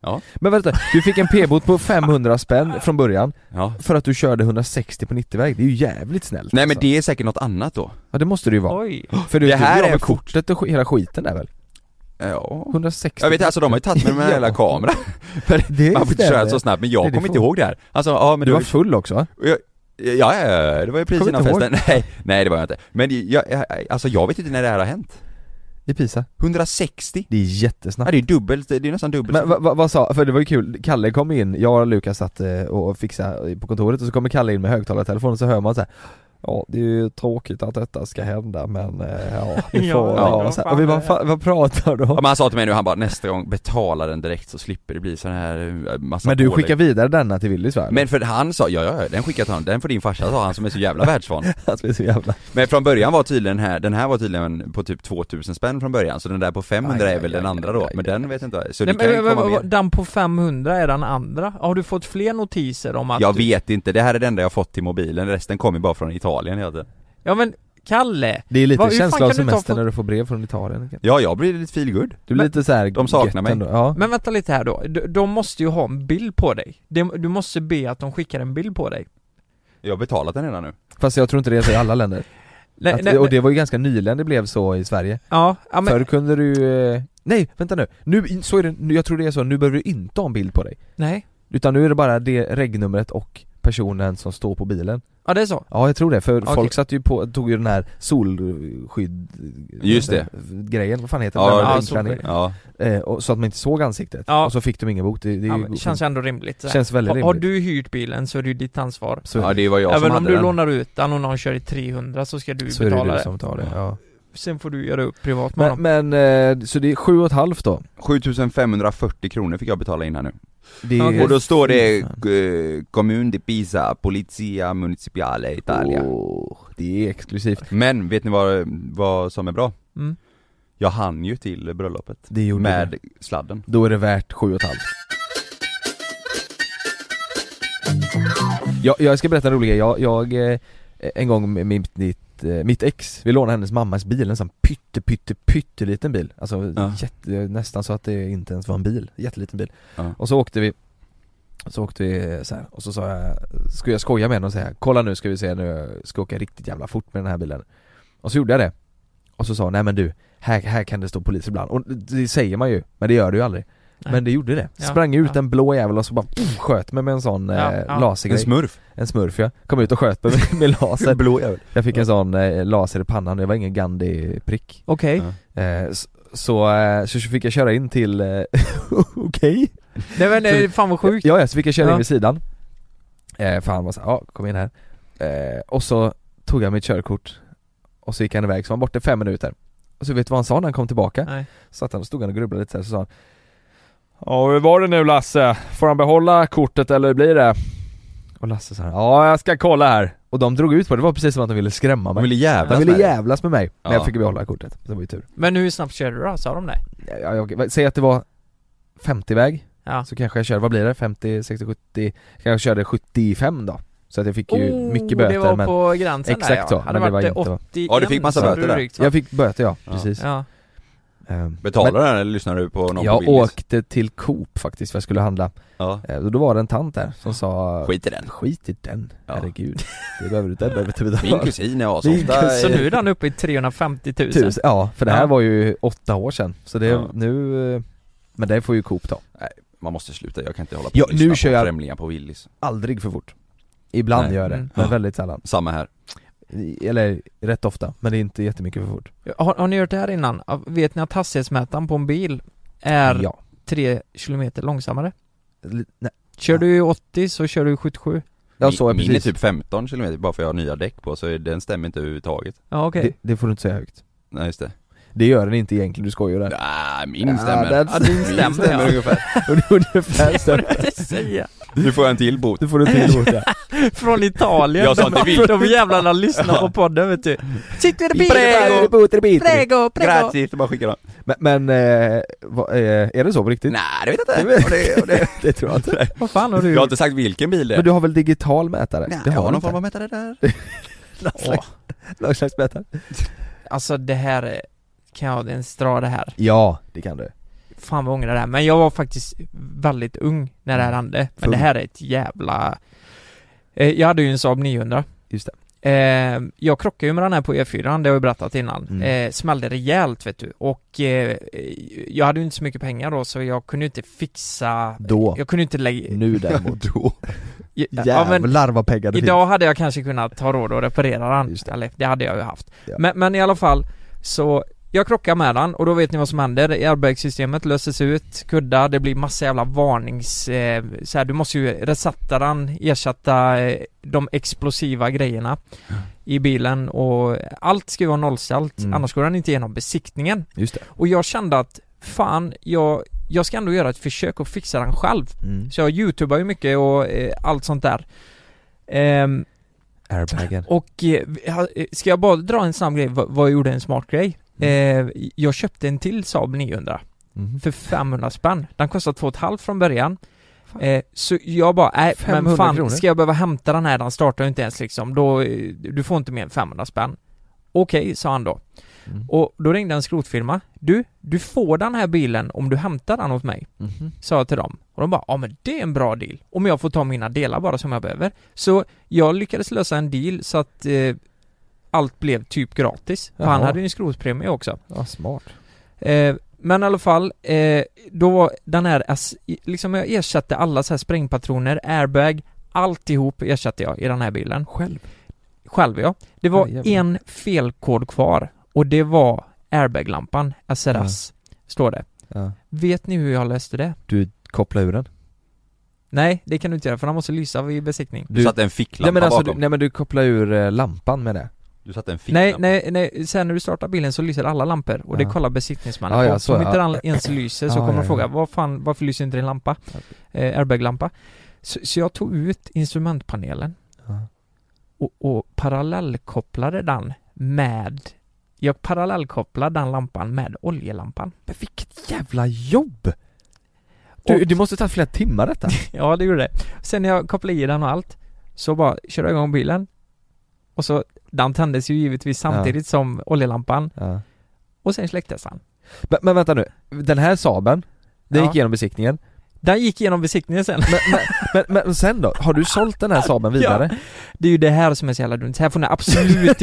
Speaker 3: Ja,
Speaker 1: Men vänta, du fick en p-bot på 500 spänn från början
Speaker 3: ja
Speaker 1: för att du körde 160 på 90-väg, det är ju jävligt snällt
Speaker 3: Nej men
Speaker 1: alltså.
Speaker 3: det är säkert något annat då
Speaker 1: Ja det måste det ju vara,
Speaker 2: Oj.
Speaker 1: för du
Speaker 3: Det
Speaker 1: det
Speaker 3: här
Speaker 1: här
Speaker 3: är
Speaker 1: är med
Speaker 3: fort-
Speaker 1: kortet och sk- hela skiten där väl?
Speaker 3: Ja
Speaker 1: 160
Speaker 3: jag vet alltså de har ju tagit mig med en
Speaker 1: Ja.
Speaker 3: jävla kamera,
Speaker 1: det
Speaker 3: man får inte köra
Speaker 1: stämmer.
Speaker 3: så snabbt men
Speaker 1: Det
Speaker 3: jag
Speaker 1: är
Speaker 3: kommer
Speaker 1: det
Speaker 3: inte
Speaker 1: får-
Speaker 3: ihåg det här Alltså, ja men
Speaker 1: Du
Speaker 3: det
Speaker 1: var full också va?
Speaker 3: Och Jag, ja, ja, ja, det var ju precis
Speaker 1: Kommer
Speaker 3: innan
Speaker 1: inte ihåg.
Speaker 3: festen. Nej, nej det var jag inte. Men jag, jag, alltså jag vet inte när det här har hänt.
Speaker 1: I Pisa?
Speaker 3: 160?
Speaker 1: Det är
Speaker 3: Ja,
Speaker 1: jättesnabbt
Speaker 3: det är dubbelt, det är nästan dubbelt.
Speaker 1: Men vad va, vad sa, för det var ju kul, Kalle kom in, jag och Lukas satt eh, och fixade på kontoret och så kommer Kalle in med högtalartelefonen och så hör man så här. Ja det är ju tråkigt att detta ska hända men eh, ja, vi
Speaker 2: Ja,
Speaker 1: får,
Speaker 2: men
Speaker 1: ja,
Speaker 2: vad
Speaker 1: så här,
Speaker 2: fan
Speaker 1: och vi bara
Speaker 2: är det här?
Speaker 1: "Fan, vad pratar du om?
Speaker 3: ja, men han sa till mig nu, han bara nästa gång betala den direkt så slipper det bli sån här eh, massa
Speaker 1: Men du
Speaker 3: pålägg."
Speaker 1: skickar vidare denna till Willys va?
Speaker 3: Men för han sa, ja ja, ja, den skickar jag till honom, den får din farsa sa han som är så jävla världsvan.
Speaker 1: alltså, det är så jävla...
Speaker 3: Men från början var tydligen här, den här var tydligen på typ 2000 spänn från början, så den där på 500
Speaker 1: Aj,
Speaker 3: är väl
Speaker 1: aj,
Speaker 3: den
Speaker 1: aj,
Speaker 3: andra
Speaker 1: aj,
Speaker 3: då,
Speaker 1: aj,
Speaker 3: men
Speaker 1: aj.
Speaker 3: den vet jag inte, så
Speaker 2: Nej,
Speaker 3: det kan ju
Speaker 2: men,
Speaker 3: komma
Speaker 2: men,
Speaker 3: mer.
Speaker 2: den på 500 är den andra. Har du fått fler notiser om att...
Speaker 3: Jag
Speaker 2: du-
Speaker 3: vet inte, det här är det enda jag har fått till mobilen, resten kommer bara från Italien hela tiden.
Speaker 2: Ja men Kalle!
Speaker 1: Det är lite
Speaker 2: Vad- hur fan
Speaker 1: känsla av
Speaker 2: kan du inte ha
Speaker 1: semester
Speaker 2: fått-
Speaker 1: när du får brev från Italien
Speaker 3: Ja, jag blir lite feel good.
Speaker 1: Du blir lite såhär
Speaker 3: de saknar mig.
Speaker 1: ja.
Speaker 2: Men vänta lite här då, de, de måste ju ha en bild på dig. De, du måste be att de skickar en bild på dig.
Speaker 3: Jag har betalat den redan nu.
Speaker 1: Fast jag tror inte det är så i alla länder
Speaker 2: Nej,
Speaker 1: att,
Speaker 2: nej,
Speaker 1: Och det var ju ganska nyligen det blev så i Sverige
Speaker 2: Ja, ja men,
Speaker 1: Förr kunde du eh, Nej, vänta nu. nu, så är det, nu- jag tror det är så, nu behöver du inte ha en bild på dig
Speaker 2: nej.
Speaker 1: Utan nu är det bara det regnumret och personen som står på bilen
Speaker 2: Ja det är så?
Speaker 1: Ja jag tror det, för
Speaker 2: Okej.
Speaker 1: folk satt ju på, tog ju den här solskydd...
Speaker 3: Just det.
Speaker 1: Grejen, vad fan heter
Speaker 3: Ja,
Speaker 1: den?
Speaker 3: ja,
Speaker 1: Ja,
Speaker 2: solskydd.
Speaker 3: Ja,
Speaker 1: eh, och, så att man inte såg ansiktet,
Speaker 2: Ja.
Speaker 1: och så fick de ingen bot, det, det är
Speaker 2: Ja,
Speaker 1: ju
Speaker 2: men det känns ändå rimligt så här.
Speaker 1: Känns väldigt
Speaker 2: har, har
Speaker 1: rimligt
Speaker 2: du hyrt bilen så är det ju ditt ansvar
Speaker 1: så,
Speaker 3: ja det var jag som
Speaker 2: Även om
Speaker 3: hade
Speaker 2: du
Speaker 3: den.
Speaker 2: lånar ut den och någon kör i 300 så ska du
Speaker 1: så är det
Speaker 2: betala
Speaker 1: du
Speaker 2: det,
Speaker 1: som tar det, ja.
Speaker 2: Sen får du göra upp privat med
Speaker 1: Men,
Speaker 2: honom
Speaker 1: men eh, så det är sju och ett halvt då?
Speaker 3: 7540 kronor fick jag betala in här nu.
Speaker 1: Det
Speaker 2: Okej.
Speaker 1: är,
Speaker 3: Och då står det
Speaker 1: Fy fan.
Speaker 3: eh, Kommun di Pisa, Polizia Municipale Italia.
Speaker 1: Åh, det är exklusivt
Speaker 3: Men vet ni vad, vad som är bra?
Speaker 2: mm.
Speaker 3: Jag hann ju till bröllopet.
Speaker 1: Det gjorde
Speaker 3: Med
Speaker 1: det.
Speaker 3: sladden.
Speaker 1: Då är det värt sju och ett halvt jag, jag ska berätta en rolig grej, jag, jag eh, en gång med mitt, mitt, eh, mitt ex, vi lånade hennes mammas bil, en sån pytte pytte pytteliten bil Alltså
Speaker 3: Ja.
Speaker 1: jätte, nästan så att det inte ens var en bil, jätteliten bil
Speaker 3: Ja.
Speaker 1: Och så åkte vi så åkte vi så här, och så sa jag, skulle jag skoja med henne och säga Kolla nu ska vi se nu, jag ska åka riktigt jävla fort med den här bilen Och så gjorde jag det Och så sa hon, nej men du, här, här kan det stå polis ibland Och det säger man ju, men det gör det ju aldrig
Speaker 2: Nej.
Speaker 1: Men det gjorde det,
Speaker 2: Ja,
Speaker 1: sprang ut
Speaker 2: ja.
Speaker 1: en blå jävel och så bara pff, sköt mig med en sån
Speaker 2: Ja,
Speaker 1: eh,
Speaker 2: ja.
Speaker 3: En
Speaker 1: lasergrej
Speaker 3: smurf.
Speaker 1: En smurf ja, kom ut och sköt mig med, med laser
Speaker 3: Blå jävel.
Speaker 1: Jag fick en sån eh, laser i pannan, det var ingen Gandhi-prick
Speaker 2: Okej,
Speaker 3: Ja.
Speaker 1: eh, så, så, eh, så fick jag köra in till, eh, okej
Speaker 2: nej men det är fan vad sjukt
Speaker 1: Ja, ja, så fick jag köra
Speaker 2: Ja.
Speaker 1: in vid sidan eh, För han var såhär, ja kom in här eh, Och så tog han mitt körkort Och så gick han iväg, så var han borta i fem minuter Och så vet du vad han sa när han kom tillbaka?
Speaker 2: Nej.
Speaker 1: Satt han och stod han och grubblade lite så, här, så sa han Ja hur var det nu Lasse? Får han behålla kortet eller hur blir det? Och Lasse sa ja jag ska kolla här Och de drog ut på det, det var precis som att de ville skrämma
Speaker 3: De
Speaker 1: mig
Speaker 3: ville
Speaker 1: De
Speaker 3: jävlas
Speaker 1: ville
Speaker 3: med dig.
Speaker 1: jävlas med mig, men
Speaker 3: Ja.
Speaker 1: jag fick behålla kortet, det var ju tur
Speaker 2: Men hur snabbt körde du då? Sa de det?
Speaker 1: ja, ja, okej. Säg att det var 50-väg
Speaker 2: Ja,
Speaker 1: så kanske jag körde, vad blir det? 50, 60, 70? Kanske jag körde 75 då Så att jag fick ju
Speaker 2: Oh,
Speaker 1: mycket
Speaker 2: det
Speaker 1: böter
Speaker 2: var
Speaker 1: men
Speaker 2: på gränsen där
Speaker 1: Exakt så,
Speaker 2: ja. Hade
Speaker 1: men det
Speaker 2: varit
Speaker 1: var inte-
Speaker 2: 81
Speaker 3: Ja, du fick massa
Speaker 2: så hade
Speaker 3: böter
Speaker 2: du
Speaker 3: där.
Speaker 2: drygt, va?
Speaker 1: Jag fick böter ja,
Speaker 3: Ja.
Speaker 1: precis
Speaker 2: Ja,
Speaker 1: Ehm,
Speaker 3: Betalar
Speaker 1: men
Speaker 3: du den eller lyssnar du på någon på
Speaker 1: Jag
Speaker 3: Willys?
Speaker 1: åkte till Coop faktiskt för jag skulle handla
Speaker 3: Ja.
Speaker 1: Ehm, och Då var det en tant där som sa
Speaker 3: Skit i den.
Speaker 1: Skit i den,
Speaker 3: Ja.
Speaker 1: herregud Det behöver du den behöver du inte
Speaker 3: Min
Speaker 1: betala
Speaker 3: kusin är
Speaker 1: Min
Speaker 3: asofta
Speaker 2: Så nu är den uppe i 350 000
Speaker 1: Eh. Tusen, ja för det här
Speaker 2: Ja.
Speaker 1: var ju åtta år sedan så det,
Speaker 3: Ja.
Speaker 1: nu eh, Men det får ju Coop ta
Speaker 3: Man måste sluta, jag kan inte hålla på
Speaker 1: Ja,
Speaker 3: och lyssna
Speaker 1: nu
Speaker 3: på
Speaker 1: kör jag-
Speaker 3: främlingar på Willys
Speaker 1: Aldrig för fort Ibland
Speaker 3: Nej.
Speaker 1: gör jag det,
Speaker 2: Mm.
Speaker 1: men väldigt sällan
Speaker 3: Samma här
Speaker 1: Eller rätt ofta, men det är inte jättemycket för fort
Speaker 2: har, har ni gjort det här innan? Vet ni att hastighetsmätaren på en bil är
Speaker 1: Ja
Speaker 2: 3 km långsammare?
Speaker 1: Li- nej.
Speaker 2: Kör du i 80 så kör du i 77
Speaker 1: Ja så är
Speaker 3: Min är
Speaker 1: precis
Speaker 3: typ 15 km bara för jag har nya däck på så den stämmer inte överhuvudtaget
Speaker 2: Ja okej
Speaker 1: det, det får du inte säga högt
Speaker 3: Nej just det
Speaker 1: Det gör den inte egentligen, du skojar där
Speaker 3: Nej,
Speaker 1: Ja,
Speaker 3: min stämmer
Speaker 1: den
Speaker 2: Ja, din stämmer,
Speaker 3: stämmer
Speaker 2: ja.
Speaker 3: ungefär
Speaker 1: Ungefär så
Speaker 2: Det säger jag.
Speaker 3: Nu får jag en till bot
Speaker 1: Du får du till mot det
Speaker 2: Från Italien
Speaker 3: Jag sa
Speaker 2: De-
Speaker 3: till Vic.
Speaker 2: De jävlarna lyssnar på podden vet du Sitter i bilen! Prego, prego!
Speaker 3: Gratis, bara skicka dem
Speaker 1: Men, men eh, vad, eh, är det så på riktigt?
Speaker 3: Nej det vet jag inte och det, och det.
Speaker 1: Det tror jag inte
Speaker 2: Vad fan har du
Speaker 3: Jag har
Speaker 2: gjort?
Speaker 3: inte sagt vilken bil det är
Speaker 1: Men du har väl digital mätare?
Speaker 3: Nej,
Speaker 1: det
Speaker 3: jag
Speaker 1: du
Speaker 3: har någon
Speaker 1: inte.
Speaker 3: form av mätare där
Speaker 1: Någon slags- Någon slags mätare?
Speaker 2: Alltså det här är- Kan jag ens dra det här?
Speaker 1: Ja, det kan du
Speaker 2: Fan vad jag ångrar det här, men jag var faktiskt väldigt ung när det här hände Men
Speaker 1: Mm. Full.
Speaker 2: det här är ett jävla... Eh, Jag hade ju en Saab 900
Speaker 1: Just
Speaker 2: Eh, jag krockade ju med den här på E4, det har jag ju berättat innan.
Speaker 1: Mm.
Speaker 2: Eh, smällde rejält vet du. Och eh, jag hade ju inte så mycket pengar då så jag kunde ju inte fixa...
Speaker 1: Då,
Speaker 2: Jag kunde ju inte lägga...
Speaker 1: nu däremot
Speaker 3: då
Speaker 2: Ja, men
Speaker 1: Jävlar vad pengar det
Speaker 2: idag hade jag kanske kunnat ta råd och reparera den.
Speaker 1: Just det.
Speaker 2: Eller det hade jag ju haft.
Speaker 1: Ja.
Speaker 2: Men, men i alla fall så jag krockar med den och då vet ni vad som händer. Airbag-systemet löses ut, kuddar, det blir massa jävla varnings... Eh, så här, du måste ju resatta den, ersätta eh, de explosiva grejerna i bilen och allt ska ju vara nollställt,
Speaker 1: Mm.
Speaker 2: annars går den inte igenom besiktningen.
Speaker 1: finns Just det
Speaker 2: Och jag kände att fan, jag, jag ska ändå göra ett försök och fixa den själv.
Speaker 1: mm.
Speaker 2: Så jag youtubar ju mycket och eh, allt sånt där. Ehm,
Speaker 1: Airbagen
Speaker 2: och eh, vi ha- eh, ska jag bara dra en snabb grej, vad, vad jag gjorde en smart grej? Eh, jag köpte en till Saab 900
Speaker 1: Mhm.
Speaker 2: för 500 spänn. Den kostade 2,5 från början. Eh, så jag bara, nej men
Speaker 1: 500
Speaker 2: fan,
Speaker 1: kronor?
Speaker 2: ska jag behöva hämta den här? Den startar ju inte ens liksom, då, eh, du får inte mer än 500 spänn. Okej, sa han då.
Speaker 1: Mm.
Speaker 2: Och då ringde en skrotfirma. Du, du får den här bilen om du hämtar den åt mig
Speaker 1: Mhm.
Speaker 2: sa jag till dem. Och de bara, ja men det är en bra deal. Om jag får ta mina delar bara som jag behöver. Så jag lyckades lösa en deal så att eh, allt blev typ gratis. För han
Speaker 1: Jaha.
Speaker 2: hade ju en skrotpremie också.
Speaker 1: Ja, smart
Speaker 2: Eh, men i alla fall, eh, då var den här, ass- liksom jag ersatte alla så här sprängpatroner, airbag, Alltihop ersatte jag i den här bilen.
Speaker 1: Själv?
Speaker 2: Själv ja. Det var
Speaker 1: Ja, jävlar.
Speaker 2: en felkod kvar och det var airbaglampan, SRS, står det.
Speaker 1: Ja.
Speaker 2: Vet ni hur jag löste det?
Speaker 1: Du kopplar ur den?
Speaker 2: Nej, det kan du inte göra för den måste lysa vid besiktning.
Speaker 3: Du satte en ficklampa
Speaker 1: nej, men alltså, du,
Speaker 3: bakom.
Speaker 1: nej men du kopplar ur eh, lampan med det?
Speaker 3: Du satte en ficklampa.
Speaker 2: Nej, nej, nej, sen när du startar bilen så lyser alla lampor och det
Speaker 1: Ja.
Speaker 2: kollar besiktningsmannen
Speaker 1: Ja,
Speaker 2: på.
Speaker 1: ja, så,
Speaker 2: Om inte
Speaker 1: ja.
Speaker 2: den ens lyser så
Speaker 1: Ja,
Speaker 2: kommer
Speaker 1: ja,
Speaker 2: de fråga
Speaker 1: ja.
Speaker 2: Vad fan, varför lyser inte din lampa? Eh, airbaglampa. Så, så jag tog ut instrumentpanelen
Speaker 1: Ja.
Speaker 2: och, och parallellkopplade den med jag parallellkopplade den lampan med oljelampan.
Speaker 1: Men vilket jävla jobb! Du,
Speaker 2: Och-
Speaker 1: det måste ta flera timmar detta?
Speaker 2: Ja, det gjorde det. Sen när jag kopplade i den och allt, så bara körde jag igång bilen. Och så, den tändes ju givetvis samtidigt som oljelampan.
Speaker 1: ja.
Speaker 2: Och sen släcktes den.
Speaker 1: men, men vänta nu, den här Saben, den
Speaker 2: Ja.
Speaker 1: gick igenom besiktningen
Speaker 2: Den gick igenom besiktningen sen.
Speaker 1: men, men, men, men sen då? Har du sålt den här Saben vidare?
Speaker 2: Det är ju det här som är så jävla dumt. Så här får ni absolut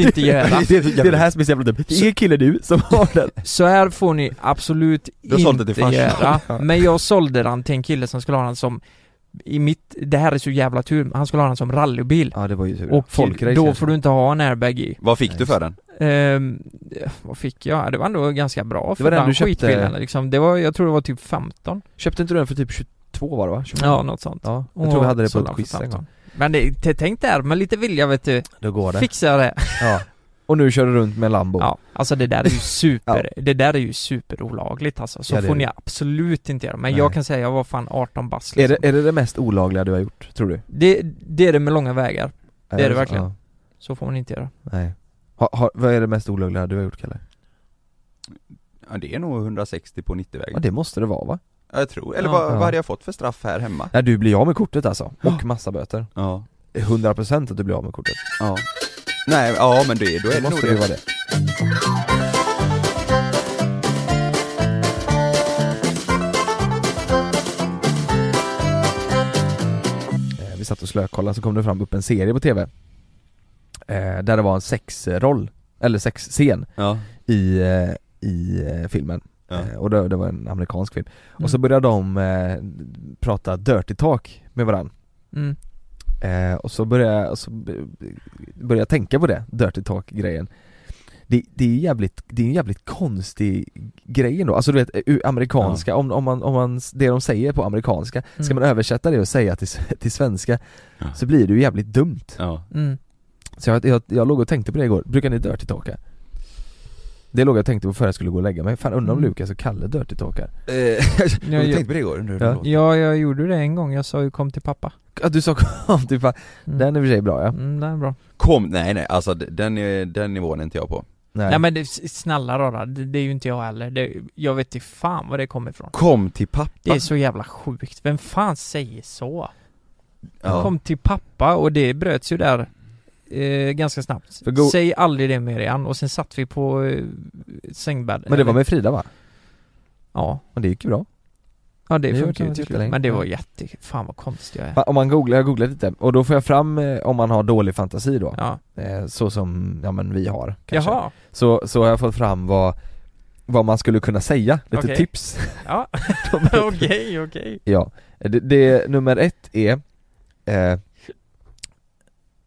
Speaker 2: inte göra.
Speaker 1: det, det är det här som är så jävla dumt, det är ingen kille nu som har den
Speaker 2: Så här får ni absolut
Speaker 3: Du har sålt det
Speaker 2: inte
Speaker 3: till farsan.
Speaker 2: göra. Men jag sålde den till en kille som skulle ha den som, i mitt, det här är så jävla tur, han skulle ha den som rallybil.
Speaker 1: Ja det var ju tur
Speaker 2: Och
Speaker 1: alltså.
Speaker 2: då får du inte ha en airbag i.
Speaker 3: Vad fick du för den?
Speaker 2: Ehm, vad fick jag? Det var ändå ganska bra för
Speaker 1: var
Speaker 2: det
Speaker 1: den
Speaker 2: var den,
Speaker 1: du köpte-
Speaker 2: skitbilen liksom. Det var, jag tror det var typ 15
Speaker 1: Köpte inte du den för typ 22 var det va? 25?
Speaker 2: Ja, något sånt
Speaker 1: ja Jag tror vi hade det på
Speaker 2: sålde
Speaker 1: ett
Speaker 2: den
Speaker 1: quiz
Speaker 2: för
Speaker 1: en gång
Speaker 2: 15. Men det, t- tänk där, med lite vilja vet du,
Speaker 1: Då går
Speaker 2: fixar jag det
Speaker 1: Ja. Och nu kör du runt med en Lambo
Speaker 2: Ja, alltså det där är ju super, det där är ju superolagligt alltså Så
Speaker 1: Ja, det är
Speaker 2: får ni
Speaker 1: det.
Speaker 2: absolut inte göra Men
Speaker 1: Nej.
Speaker 2: jag kan säga, jag var fan 18 bast
Speaker 1: är,
Speaker 2: liksom.
Speaker 1: det, är det det mest olagliga du har gjort, tror du?
Speaker 2: det, det är det med långa vägar,
Speaker 1: Det
Speaker 2: är det verkligen. så får man inte göra
Speaker 1: nej har, har, Vad är det mest olagliga du har gjort Kalle?
Speaker 3: Ja, det är nog 160 på 90-vägen.
Speaker 1: Ja det måste det vara va?
Speaker 3: Ja, jag tror. Eller
Speaker 2: Ja.
Speaker 3: vad, vad
Speaker 1: Ja.
Speaker 3: hade jag fått för straff här hemma?
Speaker 1: Nej du blir av med kortet alltså, och massa böter
Speaker 3: Ja.
Speaker 1: 100% att du blir av med kortet,
Speaker 3: ja. Nej, ja men det, då är
Speaker 1: det
Speaker 3: det nog
Speaker 1: måste ju vara
Speaker 3: det.
Speaker 1: det Eh, Vi satt och slökollade så kom det fram upp en serie på tv eh, Där det var en sexroll, eller sexscen
Speaker 3: Ja.
Speaker 1: i, eh, i eh, filmen
Speaker 3: Ja. Mm.
Speaker 1: Eh, Och det, det var en amerikansk film Och
Speaker 2: Mm.
Speaker 1: så började de eh, prata dirty talk med varandra
Speaker 2: mm.
Speaker 1: Eh, och så började jag, och så b- b- började jag tänka på det, Dirty Talk-grejen det, det är ju jävligt, det är en jävligt konstig grej ändå, alltså du vet, ur amerikanska, om, om, man, om man, det de säger på amerikanska, ska
Speaker 2: Mm.
Speaker 1: man översätta det och säga till, s- till svenska
Speaker 3: Ja.
Speaker 1: så blir det ju jävligt dumt
Speaker 3: Ja.
Speaker 2: Mm.
Speaker 1: Så jag, jag, jag låg och tänkte på det igår, brukar ni Dirty Talka? Det låg jag och tänkte på förrän jag skulle gå och lägga mig, fan undrar om
Speaker 2: Mm.
Speaker 1: Lukas och Kalle Dirty Talkar?
Speaker 3: Eh, jag
Speaker 2: jag-
Speaker 3: tänkte på det igår, undrar hur det
Speaker 1: Ja.
Speaker 3: låter.
Speaker 2: Ja, jag gjorde det en gång, jag sa ju kom till pappa
Speaker 1: Ja du sa kom typ, fan,
Speaker 2: Mm.
Speaker 1: den är i och för sig bra ja
Speaker 2: Mm, den är bra.
Speaker 3: Kom, nej nej, alltså d- den, är- den nivån är inte jag på.
Speaker 1: Nej,
Speaker 2: Nej men det, snälla rara, det, det är ju inte jag heller. Det, jag vet inte fan var det kommer ifrån.
Speaker 3: Kom till pappa.
Speaker 2: Det är så jävla sjukt. Vem fan säger så?
Speaker 3: Ja.
Speaker 2: Kom till pappa och det bröts ju där eh, ganska snabbt.
Speaker 1: För go-
Speaker 2: Säg aldrig det mer igen och sen satt vi på eh, sängbädden.
Speaker 1: men det var med Frida va?
Speaker 2: Ja.
Speaker 1: Och det gick ju bra
Speaker 2: Ja
Speaker 1: Det
Speaker 2: det funkar
Speaker 1: gjorde
Speaker 2: ju
Speaker 1: det
Speaker 2: till slut.
Speaker 1: jättelänge.
Speaker 2: Men det var
Speaker 1: Ja.
Speaker 2: jätte... Fan vad konstig jag är.
Speaker 1: Va, Om man googlar, jag googlar lite, och då får jag fram eh, om man har dålig fantasi då,
Speaker 2: Ja.
Speaker 1: eh, så som, ja men vi har kanske.
Speaker 2: Jaha.
Speaker 1: Så, så har jag fått fram vad, vad man skulle kunna säga, lite
Speaker 2: Okej.
Speaker 1: tips
Speaker 2: Ja. Okej, okej.
Speaker 1: Ja, det, det nummer ett är eh,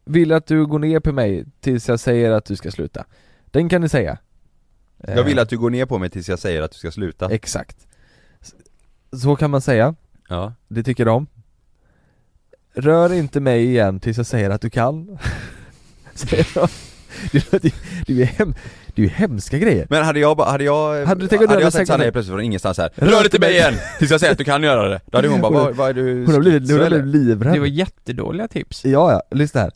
Speaker 1: Vill att du går ner på mig tills jag säger att du ska sluta Den kan ni säga Eh,
Speaker 3: Jag vill att du går ner på mig tills jag säger att du ska sluta.
Speaker 1: Exakt S- Så kan man säga,
Speaker 3: Ja.
Speaker 1: det tycker de Rör inte mig igen tills jag säger att du kan Säger de. Det låter ju- det är ju hem, det är ju hemska grejer
Speaker 3: Men hade jag bara, hade jag,
Speaker 1: Hade du tänkt att du
Speaker 3: hade
Speaker 1: hade
Speaker 3: jag
Speaker 1: sagt
Speaker 3: sagt till
Speaker 1: något?
Speaker 3: Sanna helt plötsligt från ingenstans här
Speaker 1: Rör
Speaker 3: Rör
Speaker 1: inte
Speaker 3: inte mig
Speaker 1: mig."
Speaker 3: igen! Tills jag säger att du kan göra det. Då hade hon bara,
Speaker 1: Hon-
Speaker 3: vad, vad är du
Speaker 1: Hon har blivit, hon
Speaker 3: schizo,
Speaker 1: har
Speaker 3: eller?"
Speaker 1: blivit livrädd
Speaker 2: Det var jättedåliga tips.
Speaker 1: Ja ja, lyssna här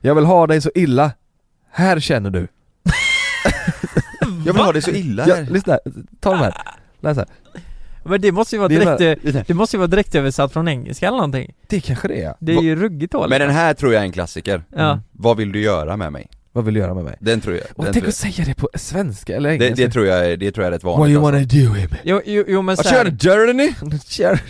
Speaker 1: Jag vill ha dig så illa, här känner du
Speaker 3: Jag vill ha det så illa
Speaker 1: ja,
Speaker 3: här.
Speaker 1: Lyssna, här. ta de här, läs här
Speaker 2: Men det måste ju vara
Speaker 1: Det är
Speaker 2: direkt... eh, Det måste ju vara direkt översatt från engelska eller någonting.
Speaker 1: Det kanske det är
Speaker 2: Det är ju ruggigt dåligt.
Speaker 3: Men den här tror jag är en klassiker.
Speaker 2: Ja.
Speaker 3: Vad vill du göra med mig?
Speaker 1: Vad vill du göra med mig?
Speaker 3: Den tror jag,
Speaker 1: Och
Speaker 3: den
Speaker 1: Mm. tänk
Speaker 3: tror
Speaker 1: att
Speaker 3: jag.
Speaker 1: säga det på svenska eller
Speaker 3: Det,
Speaker 1: engelska
Speaker 3: det tror jag är, det tror jag är rätt
Speaker 1: What
Speaker 3: vanligt
Speaker 1: you
Speaker 3: alltså.
Speaker 1: wanna do him?
Speaker 2: Jo, jo, jo men
Speaker 3: Vad
Speaker 2: så här,
Speaker 3: kör du, Journey?
Speaker 1: Kör.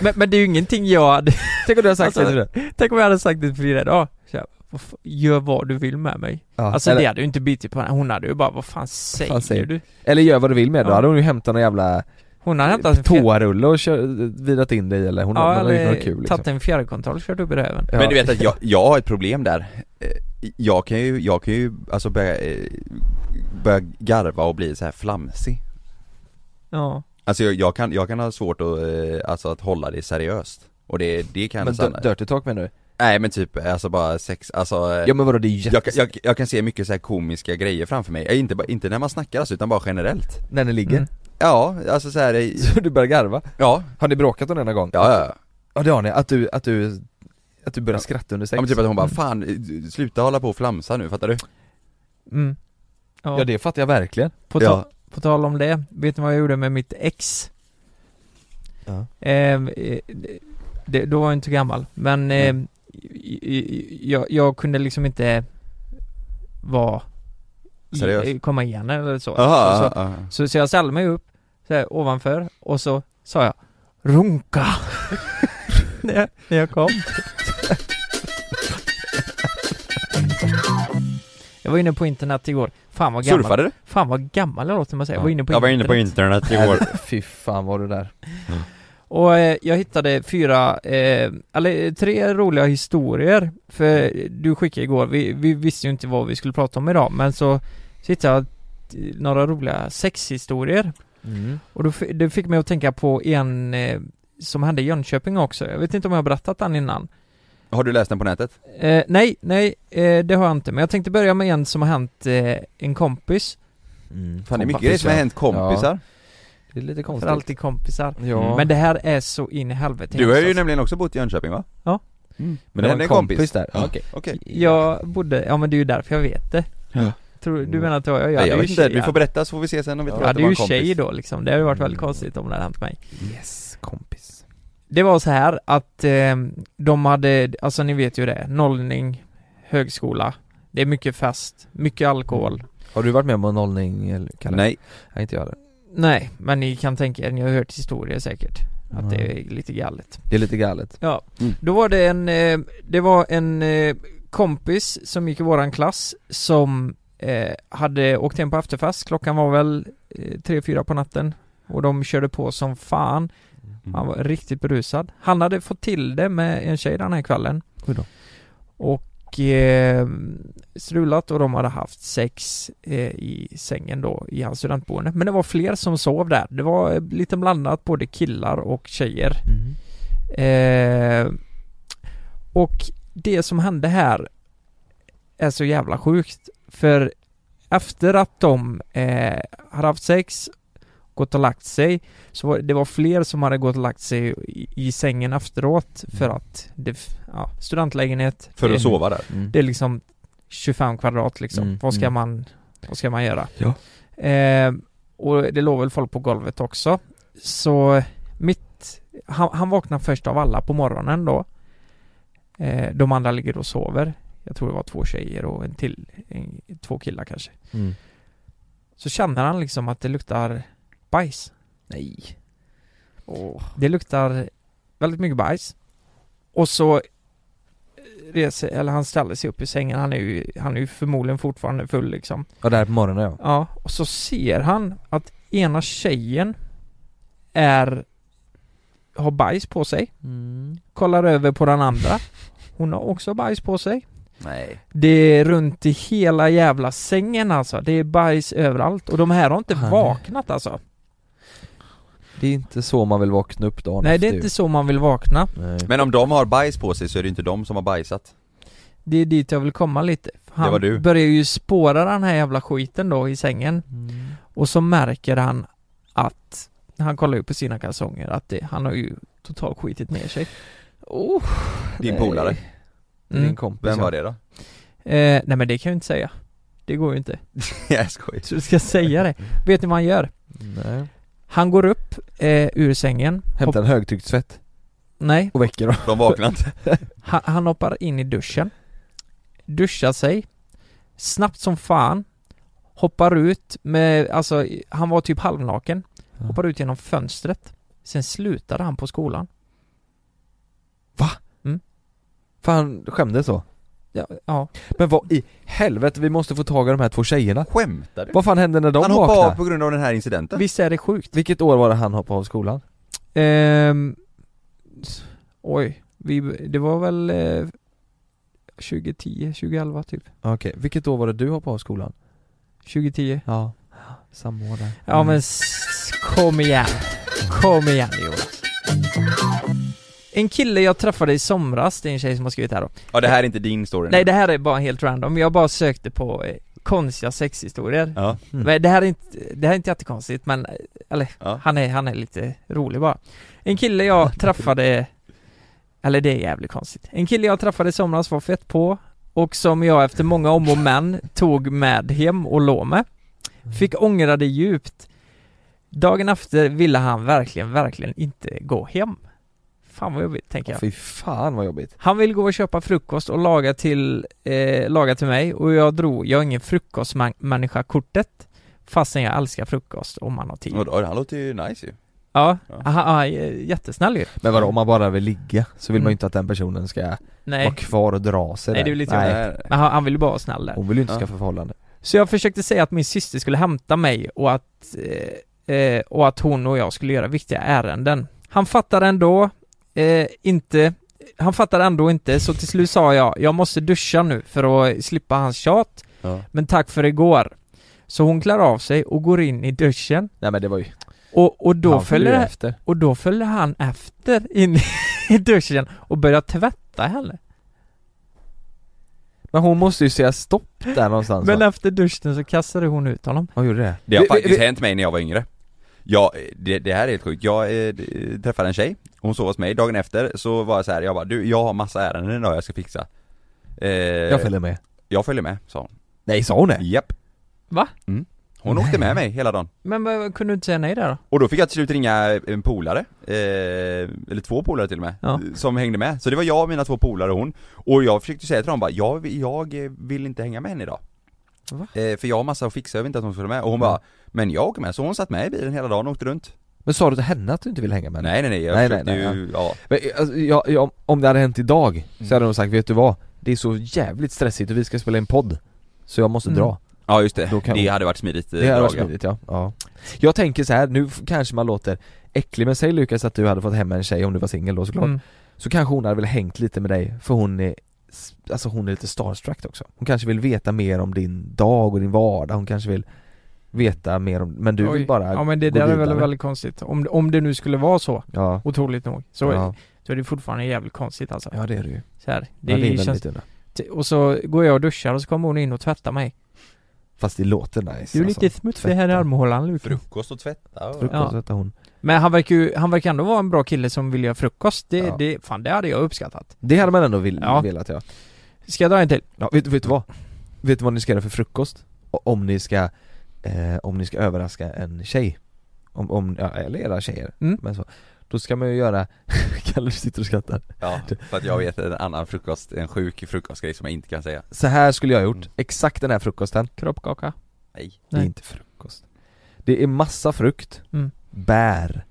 Speaker 2: men, men det är ju ingenting jag hade...
Speaker 1: Tänk om du har sagt
Speaker 2: Alltså,
Speaker 1: det nu
Speaker 2: Tänk om jag hade sagt det till Frida idag. Så jag, "Vad fa- Gör vad du vill med mig.
Speaker 1: ja,
Speaker 2: alltså
Speaker 1: eller,
Speaker 2: det hade ju inte bitit på henne. Hon hade ju bara, vad fan säger,
Speaker 1: säger
Speaker 2: du?
Speaker 1: eller gör vad du vill med det, då
Speaker 2: Ja.
Speaker 1: hade hon ju hämtat någon jävla
Speaker 2: Hon hade hämtat en fjär-
Speaker 1: Toarulle och kör, virat in dig eller hon
Speaker 2: Ja,
Speaker 1: har gjort
Speaker 2: eller
Speaker 1: något kul liksom.
Speaker 2: tagit en fjärrkontroll och kört upp i röven.
Speaker 1: Ja.
Speaker 3: Men du vet att jag, jag har ett problem där. Eh, Jag kan ju, jag kan ju alltså börja, eh, börja garva och bli så här flamsig.
Speaker 2: Ja.
Speaker 3: Alltså jag, jag kan, jag kan ha svårt att, eh, alltså att hålla det seriöst. Och det, det kan
Speaker 1: Men
Speaker 3: jag
Speaker 1: d- Dirty Talk menar du?
Speaker 3: Nej men typ, alltså bara sex, alltså eh,
Speaker 1: Ja men vadå det är ju
Speaker 3: jag,
Speaker 1: jätte...
Speaker 3: kan- jag, jag kan se mycket så här komiska grejer framför mig, Eh, inte, bara- inte när man snackar alltså, utan bara generellt
Speaker 1: När ni ligger?
Speaker 2: Mm.
Speaker 3: Ja, alltså så här, eh,
Speaker 1: Så du börjar garva?
Speaker 3: ja,
Speaker 1: Har ni bråkat om denna gång?
Speaker 3: ja, ja, ja.
Speaker 1: Ja det har ni, att du, att du, att du börjar
Speaker 3: Ja.
Speaker 1: skratta under sex?
Speaker 3: ja men typ att hon bara 'Fan, eh, sluta hålla på och flamsa nu, fattar du?'
Speaker 2: Mm.
Speaker 1: Ja det fattar jag verkligen
Speaker 2: På, ta-
Speaker 3: Ja.
Speaker 2: på tal om det, vet ni vad jag gjorde med mitt ex?
Speaker 1: Ja.
Speaker 2: Ehm, Eh, det, då var jag inte så gammal, men eh, i- i- jag, jag kunde liksom inte vara i-
Speaker 3: Seriös?
Speaker 2: eh, komma igen eller så.
Speaker 3: Aha,
Speaker 2: så,
Speaker 3: ja,
Speaker 2: så,
Speaker 3: ja.
Speaker 2: så, så jag ställde mig upp så här, ovanför och så sa jag Runka! när, jag, när jag kom. jag var inne på internet igår. Fan vad gammal
Speaker 3: Surfade du?
Speaker 2: Fan vad gammal jag låter man säger, jag var inne på
Speaker 3: jag var inne på
Speaker 2: internet.
Speaker 3: internet
Speaker 1: Nej,
Speaker 3: igår
Speaker 1: Fy fan var du där
Speaker 2: Och eh, jag hittade fyra, eh, eller eh, tre roliga historier För du skickade igår, vi, vi visste ju inte vad vi skulle prata om idag Men så, så hittade jag eh, några roliga sexhistorier
Speaker 1: mm.
Speaker 2: Och då, fi- det fick mig att tänka på en eh, som hände i Jönköping också Jag vet inte om jag har berättat den innan
Speaker 3: Har du läst den på nätet?
Speaker 2: eh, Nej, nej, eh, det har jag inte Men jag tänkte börja med en som har hänt eh, en kompis
Speaker 3: Mm. Fan det är mycket grejer som har hänt kompisar
Speaker 1: Det är lite
Speaker 2: För
Speaker 1: konstigt
Speaker 2: alltid kompisar
Speaker 1: Ja
Speaker 3: Mm.
Speaker 2: Men det här är så in i helvete
Speaker 3: Du har ju
Speaker 2: hemskt,
Speaker 3: nämligen också bott i Jönköping va?
Speaker 2: Ja.
Speaker 3: Mm.
Speaker 1: Men det
Speaker 3: Men
Speaker 1: var
Speaker 3: det hände en kompis,
Speaker 1: där,
Speaker 3: Ja.
Speaker 1: okej
Speaker 3: Okej
Speaker 2: Jag bodde, ja men det är ju därför jag vet det
Speaker 3: Ja.
Speaker 2: Tror, Du
Speaker 1: Mm.
Speaker 2: menar att det var jag? Jag
Speaker 3: Nej,
Speaker 2: hade
Speaker 3: jag
Speaker 2: ju
Speaker 3: vet inte,
Speaker 2: tjejer.
Speaker 3: du får berätta så får vi se sen om vi tror
Speaker 2: Jag
Speaker 3: att
Speaker 2: hade
Speaker 3: det var
Speaker 2: ju
Speaker 3: en kompis
Speaker 2: tjej då liksom, det hade ju varit väldigt
Speaker 1: Mm.
Speaker 2: konstigt om det hade hänt mig
Speaker 1: Yes, kompis
Speaker 2: Det var så här att eh, de hade, alltså ni vet ju det, nollning, högskola Det är mycket fest, mycket alkohol
Speaker 3: Mm.
Speaker 1: Har du varit med om en nollning eller Kalle?
Speaker 3: Nej,
Speaker 1: Nej inte jag heller
Speaker 2: Nej, men ni kan tänka er, ni har hört historier säkert Att
Speaker 1: Mm.
Speaker 2: det är lite galet
Speaker 1: Det är lite galet
Speaker 2: Ja,
Speaker 3: Mm.
Speaker 2: då var det en, eh, det var en eh, kompis som gick i våran klass som eh, hade åkt hem på efterfest, klockan var väl eh, tre, fyra på natten och de körde på som fan, han var riktigt berusad. Han hade fått till det med en tjej den här kvällen
Speaker 1: Oj då.
Speaker 2: och eh, strulat och de hade haft sex eh, i sängen då i hans studentboende. Men det var fler som sov där, det var eh, lite blandat både killar och tjejer. Eh, och det som hände här är så jävla sjukt. För efter att de eh, hade haft sex, gått och lagt sig, så var, det var fler som hade gått och lagt sig i, i sängen efteråt för att det, f- ja, studentlägenhet.
Speaker 3: för
Speaker 2: det,
Speaker 3: att sova där
Speaker 1: Mm.
Speaker 2: Det är liksom 25 kvadrat liksom.
Speaker 1: Mm,
Speaker 2: Vad ska
Speaker 1: mm.
Speaker 2: man, vad ska man göra?
Speaker 1: Ja.
Speaker 2: Eh, och det låg väl folk på golvet också. Så mitt, han, han vaknar först av alla på morgonen då. Eh, de andra ligger och sover. Jag tror det var två tjejer och en till, en, två killar kanske.
Speaker 1: Mm.
Speaker 2: Så känner han liksom att det luktar bajs.
Speaker 1: Nej
Speaker 2: Det luktar väldigt mycket bajs. Och så reser, eller han ställer sig upp i sängen. Han är ju, han är ju förmodligen fortfarande full liksom.
Speaker 1: Ja där på morgonen ja
Speaker 2: Ja, och så ser han att ena tjejen är har bajs på sig. Kollar över på den andra. Hon har också bajs på sig.
Speaker 3: Nej
Speaker 2: Det är runt i hela jävla sängen alltså. Det är bajs överallt och de här har inte
Speaker 1: Han-
Speaker 2: vaknat alltså.
Speaker 1: Det är inte så man vill vakna upp dagen
Speaker 2: Nej, det är
Speaker 1: efter
Speaker 2: inte
Speaker 1: ju.
Speaker 2: så man vill vakna.
Speaker 1: Nej.
Speaker 3: Men om de har bajs på sig så är det inte de som har bajsat
Speaker 2: Det är dit jag vill komma lite. Han
Speaker 3: Det var du.
Speaker 2: börjar ju spåra den här jävla skiten då i sängen.
Speaker 1: Mm.
Speaker 2: Och så märker han att, han kollar ju på sina kalsonger, att det, han har ju totalt skitit ner sig.
Speaker 1: Oh,
Speaker 3: Din
Speaker 1: nej.
Speaker 3: polare,
Speaker 1: Din
Speaker 2: Mm.
Speaker 1: kompis
Speaker 3: vem
Speaker 1: ja.
Speaker 3: var det då?
Speaker 2: Eh, nej men det kan jag ju inte säga. Det går ju inte.
Speaker 3: Jag skojar
Speaker 2: Så du ska säga det. Vet ni vad han gör?
Speaker 1: Nej.
Speaker 2: Han går upp eh, ur sängen.
Speaker 1: Hämtar en högtryckssvett
Speaker 2: nej,
Speaker 1: och väcker dem
Speaker 3: De vaknar inte.
Speaker 2: han, han hoppar in i duschen. Duschar sig. Snabbt som fan. Hoppar ut med, alltså han var typ halvnaken.
Speaker 1: Ja.
Speaker 2: Hoppar ut genom fönstret. Sen slutade han på skolan.
Speaker 1: Fan, skämdes så?
Speaker 2: Ja, ja.
Speaker 1: Men vad i helvete, vi måste få tag i de här två tjejerna
Speaker 3: Skämtar du?
Speaker 1: Vad fan hände när de
Speaker 3: han hoppade
Speaker 1: vaknade?
Speaker 3: av på grund av den här incidenten?
Speaker 2: Visst är det sjukt?
Speaker 1: Vilket år var det han hoppade av skolan?
Speaker 2: Ehm, s- oj, vi, det var väl eh, 2010, 2011 typ.
Speaker 1: Okej, vilket år var det du hoppade av skolan?
Speaker 2: 2010.
Speaker 1: Ja, samma år där
Speaker 2: Ja men s- kom igen. Kom igen Jonas. En kille jag träffade i somras, det är en tjej som har skrivit här då.
Speaker 3: Ja det här är inte din story
Speaker 2: Nej
Speaker 3: nu.
Speaker 2: det här är bara helt random, jag bara sökte på eh, konstiga sexhistorier.
Speaker 3: Ja,
Speaker 1: Mm.
Speaker 2: Men det här är inte, det här är inte jättekonstigt men, eh, eller
Speaker 3: ja.
Speaker 2: han är, han är lite rolig bara. En kille jag träffade, eller det är jävligt konstigt. En kille jag träffade i somras var fett på och som jag efter många om och men tog med hem och låg med.
Speaker 3: Mm.
Speaker 2: Fick ångra det djupt. Dagen efter ville han verkligen, verkligen inte gå hem. Fan vad jobbigt tänker jag.
Speaker 1: Mm. Fy fan vad jobbigt
Speaker 2: Han ville gå och köpa frukost och laga till, eh, laga till mig och jag drog, jag är ingen frukostmänniska-kortet fastän jag älskar frukost om man har tid.
Speaker 3: Och då, han låter ju nice ju.
Speaker 2: Ja,
Speaker 3: Ja.
Speaker 2: aha, aha, j- jättesnäll ju.
Speaker 1: Men vadå, om man bara vill ligga så vill man
Speaker 2: Mm.
Speaker 1: ju inte att den personen ska
Speaker 2: Nej,
Speaker 1: vara kvar och dra sig
Speaker 2: Nej,
Speaker 1: där.
Speaker 2: det är väl lite
Speaker 1: Nej,
Speaker 3: Nej.
Speaker 2: men han, han ville ju bara vara snäll där.
Speaker 1: hon vill ju inte
Speaker 3: Ja.
Speaker 1: skaffa förhållande
Speaker 2: Så jag försökte säga att min syster skulle hämta mig och att, eh, eh, och att hon och jag skulle göra viktiga ärenden. Han fattade ändå eh, inte, han fattade ändå inte, så till slut sa jag, jag måste duscha nu för att slippa hans tjat,
Speaker 3: Ja.
Speaker 2: men tack för igår. Så hon klär av sig och går in i duschen
Speaker 1: Nej men det var ju,
Speaker 2: och, och, då,
Speaker 1: han följde ju
Speaker 2: följer,
Speaker 1: efter
Speaker 2: och då följer han efter in i duschen och börjar tvätta henne.
Speaker 1: Men hon måste ju säga stopp där någonstans
Speaker 2: Men
Speaker 1: va?
Speaker 2: efter duschen så kastade hon ut honom.
Speaker 1: Hon gjorde det?
Speaker 3: Det har
Speaker 1: Vi- vi-
Speaker 3: faktiskt
Speaker 1: vi-
Speaker 3: hänt mig när jag var yngre Ja, det, det här är helt sjukt. Jag eh, d- träffade en tjej, hon sov hos mig, dagen efter så var jag så här, jag bara du, jag har massa ärenden idag jag ska fixa eh,
Speaker 1: Jag följer med
Speaker 3: Jag följer med, sa hon
Speaker 1: Nej sa hon det?
Speaker 3: Japp
Speaker 2: Va?
Speaker 3: Mm. Hon åkte med mig hela dagen
Speaker 2: Men vad- kunde du inte säga nej där då?
Speaker 3: Och då fick jag till slut ringa en polare, eh, eller två polare till och med,
Speaker 2: Ja.
Speaker 3: som hängde med. Så det var jag och mina två polare och hon. Och jag försökte säga till dem bara, jag, jag eh, vill inte hänga med henne idag.
Speaker 2: Va?
Speaker 3: Eh, för jag har massa att fixa, jag vill inte att hon skulle med. Och hon bara, men jag åker med. Så hon satt med i bilen hela dagen och åkte runt.
Speaker 1: Men sa du till henne att du inte vill hänga med henne?
Speaker 3: Nej nej nej, jag
Speaker 1: Nej,
Speaker 3: försökte
Speaker 1: nej, nej,
Speaker 3: ju, ja.
Speaker 1: Men, alltså, jag, jag, om det hade hänt idag så hade de sagt, vet du vad? Det är så jävligt stressigt och vi ska spela in podd Så jag måste
Speaker 2: Mm.
Speaker 1: dra
Speaker 3: Ja just det,
Speaker 1: Då kan
Speaker 3: det
Speaker 1: hon-
Speaker 3: hade varit smidigt eh,
Speaker 1: Det hade varit
Speaker 3: drag, ja.
Speaker 1: smidigt ja. ja Jag tänker så här, nu f- kanske man låter äcklig men säg Lukas att du hade fått hem en tjej om du var singel då såklart
Speaker 2: Mm.
Speaker 1: Så kanske hon hade väl hängt lite med dig för hon är s- Alltså hon är lite starstruck också Hon kanske vill veta mer om din dag och din vardag, hon kanske vill Veta mer om, men du
Speaker 2: Oj.
Speaker 1: vill bara
Speaker 2: Ja men det
Speaker 1: gå
Speaker 2: där är väl
Speaker 1: vidare.
Speaker 2: väldigt konstigt. Om, om det nu skulle vara så,
Speaker 1: Ja
Speaker 2: otroligt nog, så,
Speaker 1: ja.
Speaker 2: så är det fortfarande jävligt konstigt alltså.
Speaker 1: ja det är det ju,
Speaker 2: Så här, det,
Speaker 1: det, ja, det är
Speaker 2: känns...
Speaker 1: väldigt undra.
Speaker 2: Och så går jag och duschar och så kommer hon in och tvättar mig.
Speaker 1: Fast det låter nice
Speaker 2: Du är lite
Speaker 1: alltså.
Speaker 2: smutsig här i
Speaker 1: Tvätta.
Speaker 2: armhålan Lukas.
Speaker 3: Frukost och tvätta och...
Speaker 1: Frukost
Speaker 2: Ja.
Speaker 1: ja. hon
Speaker 2: Men han verkar ju, han verkar ändå vara en bra kille som vill göra frukost. Det,
Speaker 1: Ja.
Speaker 2: det, fan det hade jag uppskattat.
Speaker 1: Det hade man ändå vill,
Speaker 2: Ja.
Speaker 1: velat ja.
Speaker 2: Ska jag dra en till?
Speaker 1: ja vet, vet du vad? Vet du vad ni ska göra för frukost? O- Om ni ska, eh, om ni ska överraska en tjej om, om, ja, eller era tjejer,
Speaker 2: Mm.
Speaker 1: men så Då ska man ju göra, Kalle du sitter och skrattar
Speaker 3: Ja, för att jag vet en annan frukost, en sjuk frukostgrej som jag inte kan säga.
Speaker 1: Så här skulle jag ha gjort,
Speaker 3: Mm.
Speaker 1: exakt den här frukosten
Speaker 2: Kroppkaka.
Speaker 3: Nej.
Speaker 1: Det är
Speaker 2: Nej.
Speaker 1: inte frukost Det är massa frukt,
Speaker 2: Mm.
Speaker 1: bär,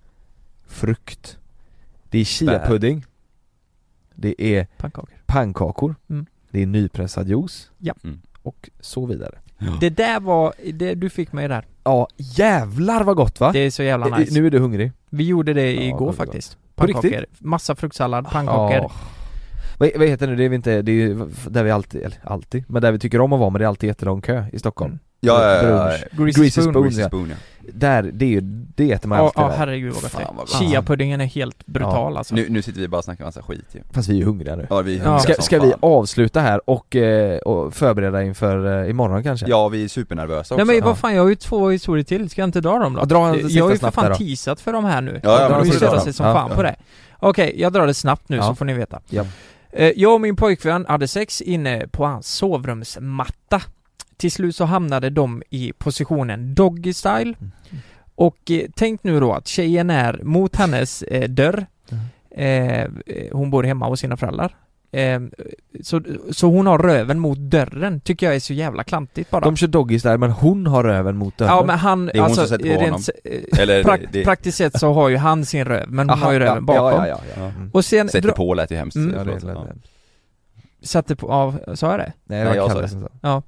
Speaker 1: frukt Det är chiapudding Det är
Speaker 2: Pannkakor.
Speaker 1: pannkakor
Speaker 2: Mm.
Speaker 1: Det är nypressad juice
Speaker 2: Ja.
Speaker 3: Mm.
Speaker 1: Och så vidare
Speaker 2: Det där var, det, du fick mig där.
Speaker 1: Ja, jävlar vad gott va?
Speaker 2: Det är så jävla
Speaker 1: I- i-
Speaker 2: nice.
Speaker 1: Nu är du hungrig
Speaker 2: Vi gjorde det
Speaker 1: Ja,
Speaker 2: igår
Speaker 1: det var
Speaker 2: faktiskt.
Speaker 1: På riktigt? Ah,
Speaker 2: Pannkakor. Massa fruktsallad, pannkakor.
Speaker 1: Ja. Vad, vad heter det, det är vi inte, det är ju där vi alltid, eller alltid, men där vi tycker om att vara men det är alltid jättelång kö i Stockholm
Speaker 2: Mm.
Speaker 3: Ja, ja, ja, ja.
Speaker 2: Greasy,
Speaker 1: Greasy
Speaker 2: spoon.
Speaker 1: spoon.
Speaker 3: Greasy spoon ja.
Speaker 1: Där, det är ju, det äter man
Speaker 2: Ja,
Speaker 1: alltid
Speaker 2: ja
Speaker 1: där.
Speaker 2: herregud vad gott
Speaker 3: Fan, vad
Speaker 2: det
Speaker 3: gott.
Speaker 2: är. Chia-puddingen är helt brutal alltså.
Speaker 3: Nu, nu sitter vi bara och snackar massa skit ju.
Speaker 1: Fast vi är ju hungriga nu
Speaker 3: Ja, vi är
Speaker 2: Ja.
Speaker 3: ja.
Speaker 1: Ska, ska vi avsluta här och, eh, och förbereda inför eh, imorgon kanske?
Speaker 3: Ja, vi är supernervösa också.
Speaker 2: Nej men
Speaker 1: Ja.
Speaker 2: vad fan, jag har ju två historier till, ska jag inte dra dem då?
Speaker 1: Ja, dra en
Speaker 2: Det-
Speaker 1: sista
Speaker 2: jag har ju för
Speaker 1: snabbt
Speaker 2: fan
Speaker 1: där då.
Speaker 2: teasat för de här nu.
Speaker 3: Ja, ja, men
Speaker 2: de har
Speaker 3: då
Speaker 2: ju
Speaker 3: får du dra
Speaker 2: stört
Speaker 3: dem.
Speaker 2: sig som
Speaker 1: Ja,
Speaker 2: fan
Speaker 1: ja.
Speaker 2: på det. Okej, jag drar det snabbt nu så
Speaker 1: Ja.
Speaker 2: får ni veta.
Speaker 1: Ja.
Speaker 2: Eh, Jag och min pojkvän hade sex inne på hans sovrumsmatta. Till slut så hamnade de i positionen doggy style. Och eh, tänk nu då att tjejen är mot hennes eh, dörr. Eh, hon bor hemma hos sina föräldrar. Eh, så, så hon har röven mot dörren, tycker jag är så jävla klantigt bara.
Speaker 1: De kör doggies där men hon har röven mot dörren
Speaker 2: Ja men han,
Speaker 3: Det är hon
Speaker 2: alltså,
Speaker 3: som sätter på
Speaker 2: rent,
Speaker 3: honom.
Speaker 2: eh,
Speaker 3: Eller
Speaker 2: prakt,
Speaker 3: det-
Speaker 2: praktiskt sett så har ju han sin röv, men hon
Speaker 1: Aha,
Speaker 2: har ju röven
Speaker 1: ja,
Speaker 2: bakom.
Speaker 1: Ja, ja, ja, ja.
Speaker 3: Ja.
Speaker 1: Mm.
Speaker 2: Och sen,
Speaker 3: Sätter
Speaker 2: dra,
Speaker 3: på lät ju hemskt.
Speaker 2: Mm.
Speaker 1: Ja, det är
Speaker 3: Förlåt.
Speaker 1: lätt.
Speaker 3: Ja.
Speaker 2: satte på, av, sa jag det?
Speaker 1: Nej, det var
Speaker 3: Nej, jag sa
Speaker 1: Kalle
Speaker 3: det.
Speaker 1: som sa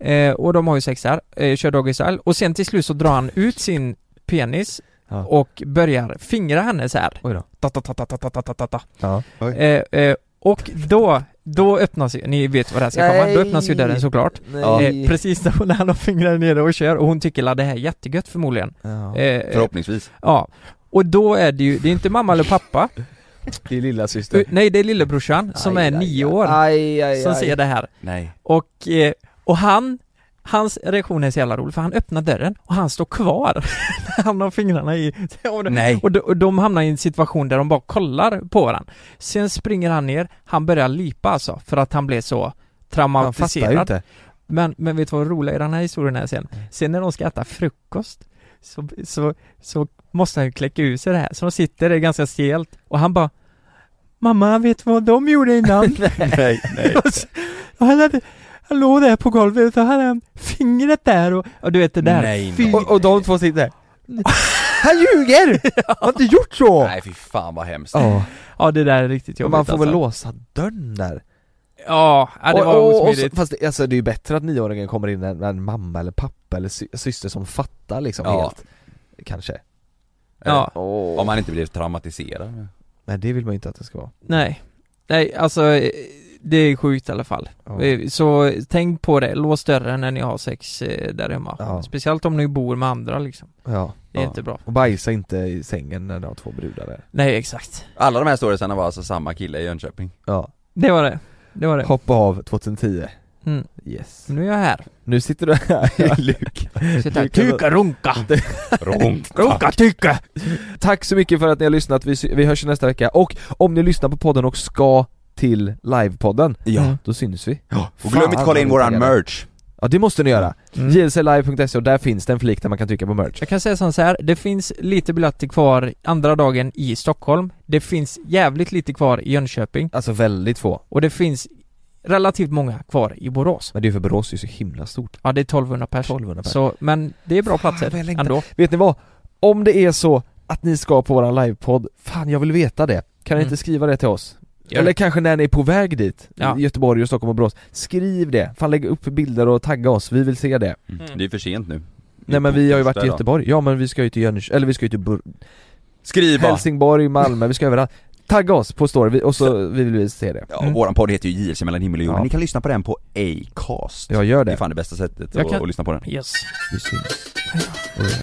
Speaker 2: Eh, och de har ju sex där, eh, kör doggy style. Och sen till slut så drar han ut sin penis
Speaker 1: Ja.
Speaker 2: och börjar fingra henne så här.
Speaker 1: Oj då.
Speaker 2: Ta, ta, ta, ta, ta, ta, ta, ta, ta.
Speaker 1: Ja.
Speaker 2: Eh, eh, och då, då öppnas ju, ni vet vad det här ska komma, då öppnas ju dörren såklart. Eh, precis då när han har fingrarna nere och kör och hon tycker att det här är jättegött förmodligen.
Speaker 1: Ja.
Speaker 2: Eh, eh,
Speaker 3: Förhoppningsvis.
Speaker 2: ja. Och då är det ju, det är inte mamma eller pappa,
Speaker 1: Det är lilla syster.
Speaker 2: u- nej det är lillebrorsan som
Speaker 1: Aj,
Speaker 2: är
Speaker 1: aj,
Speaker 2: nio
Speaker 1: aj.
Speaker 2: år
Speaker 1: Aj, aj,
Speaker 2: som
Speaker 1: aj.
Speaker 2: ser det här.
Speaker 3: Nej.
Speaker 2: Och, eh, och han, hans reaktion är så jävla rolig för han öppnar dörren och han står kvar. han har fingrarna i... Och de,
Speaker 3: Nej.
Speaker 2: och, de, och de hamnar i en situation där de bara kollar på varandra. Sen springer han ner, han börjar lipa alltså för att han blev så
Speaker 1: Man fattar ju
Speaker 2: traumatiserad.
Speaker 1: inte.
Speaker 2: Men, men vet du vad roligt i den här historien är sen?
Speaker 1: Mm.
Speaker 2: Sen när de ska äta frukost så, så, så måste han ju kläcka ur sig det här. Så de sitter där ganska stelt och han bara Mamma, vet du vad de gjorde innan?
Speaker 3: nej, nej.
Speaker 2: Och så- och han, hade, han låg där på golvet och han hade fingret där och, och du vet det där.
Speaker 3: Nej,
Speaker 2: Fy-
Speaker 3: nej.
Speaker 1: Och, och de två sitter Han ljuger! Han har inte gjort så!
Speaker 3: Nej fy fan vad hemskt.
Speaker 1: Ja,
Speaker 2: Ja det där är riktigt jobbigt
Speaker 1: man får väl
Speaker 2: alltså.
Speaker 1: låsa dörren där?
Speaker 2: Ja, ja, det var
Speaker 1: och, och, så,
Speaker 2: osmidigt.
Speaker 1: Fast det, alltså, det är ju bättre att nioåringen kommer in än än mamma eller pappa eller sy syster som fattar liksom
Speaker 3: Ja.
Speaker 1: helt Kanske
Speaker 2: ja,
Speaker 1: oh.
Speaker 3: Om man inte blir traumatiserad.
Speaker 1: Nej det vill man ju inte att det ska vara
Speaker 2: nej. Nej, alltså eh, det är sjukt i alla fall.
Speaker 1: Ja.
Speaker 2: Eh, Så tänk på det, lås dörren när ni har sex eh, där hemma.
Speaker 1: Ja.
Speaker 2: Speciellt om ni bor med andra liksom.
Speaker 1: Ja,
Speaker 2: Det är
Speaker 3: Ja.
Speaker 2: inte bra.
Speaker 1: och bajsa inte i sängen när du har två brudar där
Speaker 2: Nej, exakt.
Speaker 3: Alla de här storiesarna var alltså samma kille i Jönköping.
Speaker 1: Ja,
Speaker 2: Det var det. Det var det.
Speaker 1: hoppa av 2010
Speaker 2: Mm.
Speaker 1: Yes
Speaker 2: Nu är jag här.
Speaker 1: Nu sitter du här Luke
Speaker 2: Sitter här.
Speaker 1: Du kan-
Speaker 2: Tyka runka!
Speaker 3: Ronk.
Speaker 2: Runka tyka!
Speaker 1: Tack så mycket för att ni har lyssnat, vi, sy- vi hörs nästa vecka och om ni lyssnar på podden och ska till livepodden,
Speaker 3: Ja.
Speaker 1: då syns vi
Speaker 3: Och glöm inte kolla in våran merch.
Speaker 1: Ja det måste ni göra!
Speaker 2: Mm.
Speaker 1: jlclive.se och där finns det en flik där man kan trycka på merch
Speaker 2: Jag kan säga som så här, det finns lite biljetter kvar andra dagen i Stockholm Det finns jävligt lite kvar i Jönköping
Speaker 1: Alltså väldigt få,
Speaker 2: Och det finns relativt många kvar i Borås
Speaker 1: men det är ju för Borås det är ju så himla stort
Speaker 2: Ja det är 1200 pers
Speaker 1: 1200 pers.
Speaker 2: Så, men det är bra
Speaker 1: Fan,
Speaker 2: platser
Speaker 1: vad jag längtar.
Speaker 2: ändå
Speaker 1: Vet ni vad? Om det är så att ni ska på våran livepodd, fan jag vill veta det. Kan ni
Speaker 2: Mm.
Speaker 1: inte skriva det till oss?
Speaker 2: Gör
Speaker 1: Eller
Speaker 2: det.
Speaker 1: kanske när ni är på väg dit,
Speaker 2: Ja.
Speaker 1: i Göteborg, och Stockholm och Borås. Skriv det, fan lägg upp bilder och tagga oss, vi vill se det.
Speaker 3: Det är för sent nu.
Speaker 1: Nej men vi har ju varit i
Speaker 3: Där då.
Speaker 1: Göteborg, ja men vi ska ju till Jönköping, eller vi ska ju till Bur-
Speaker 3: Skriv bara.
Speaker 1: Helsingborg, Malmö, vi ska överallt. Tagga oss på story, vi- och så vi vill vi se det.
Speaker 3: Ja,
Speaker 2: Mm.
Speaker 3: våran podd heter ju JLC mellan himmel och jord,
Speaker 1: Ja.
Speaker 3: men ni kan lyssna på den på Acast.
Speaker 1: Jag gör
Speaker 3: Det är
Speaker 1: det.
Speaker 3: fan det bästa sättet
Speaker 2: Jag
Speaker 3: att,
Speaker 2: kan-
Speaker 3: att lyssna på den.
Speaker 2: Yes
Speaker 1: Vi syns. Och vi hörs.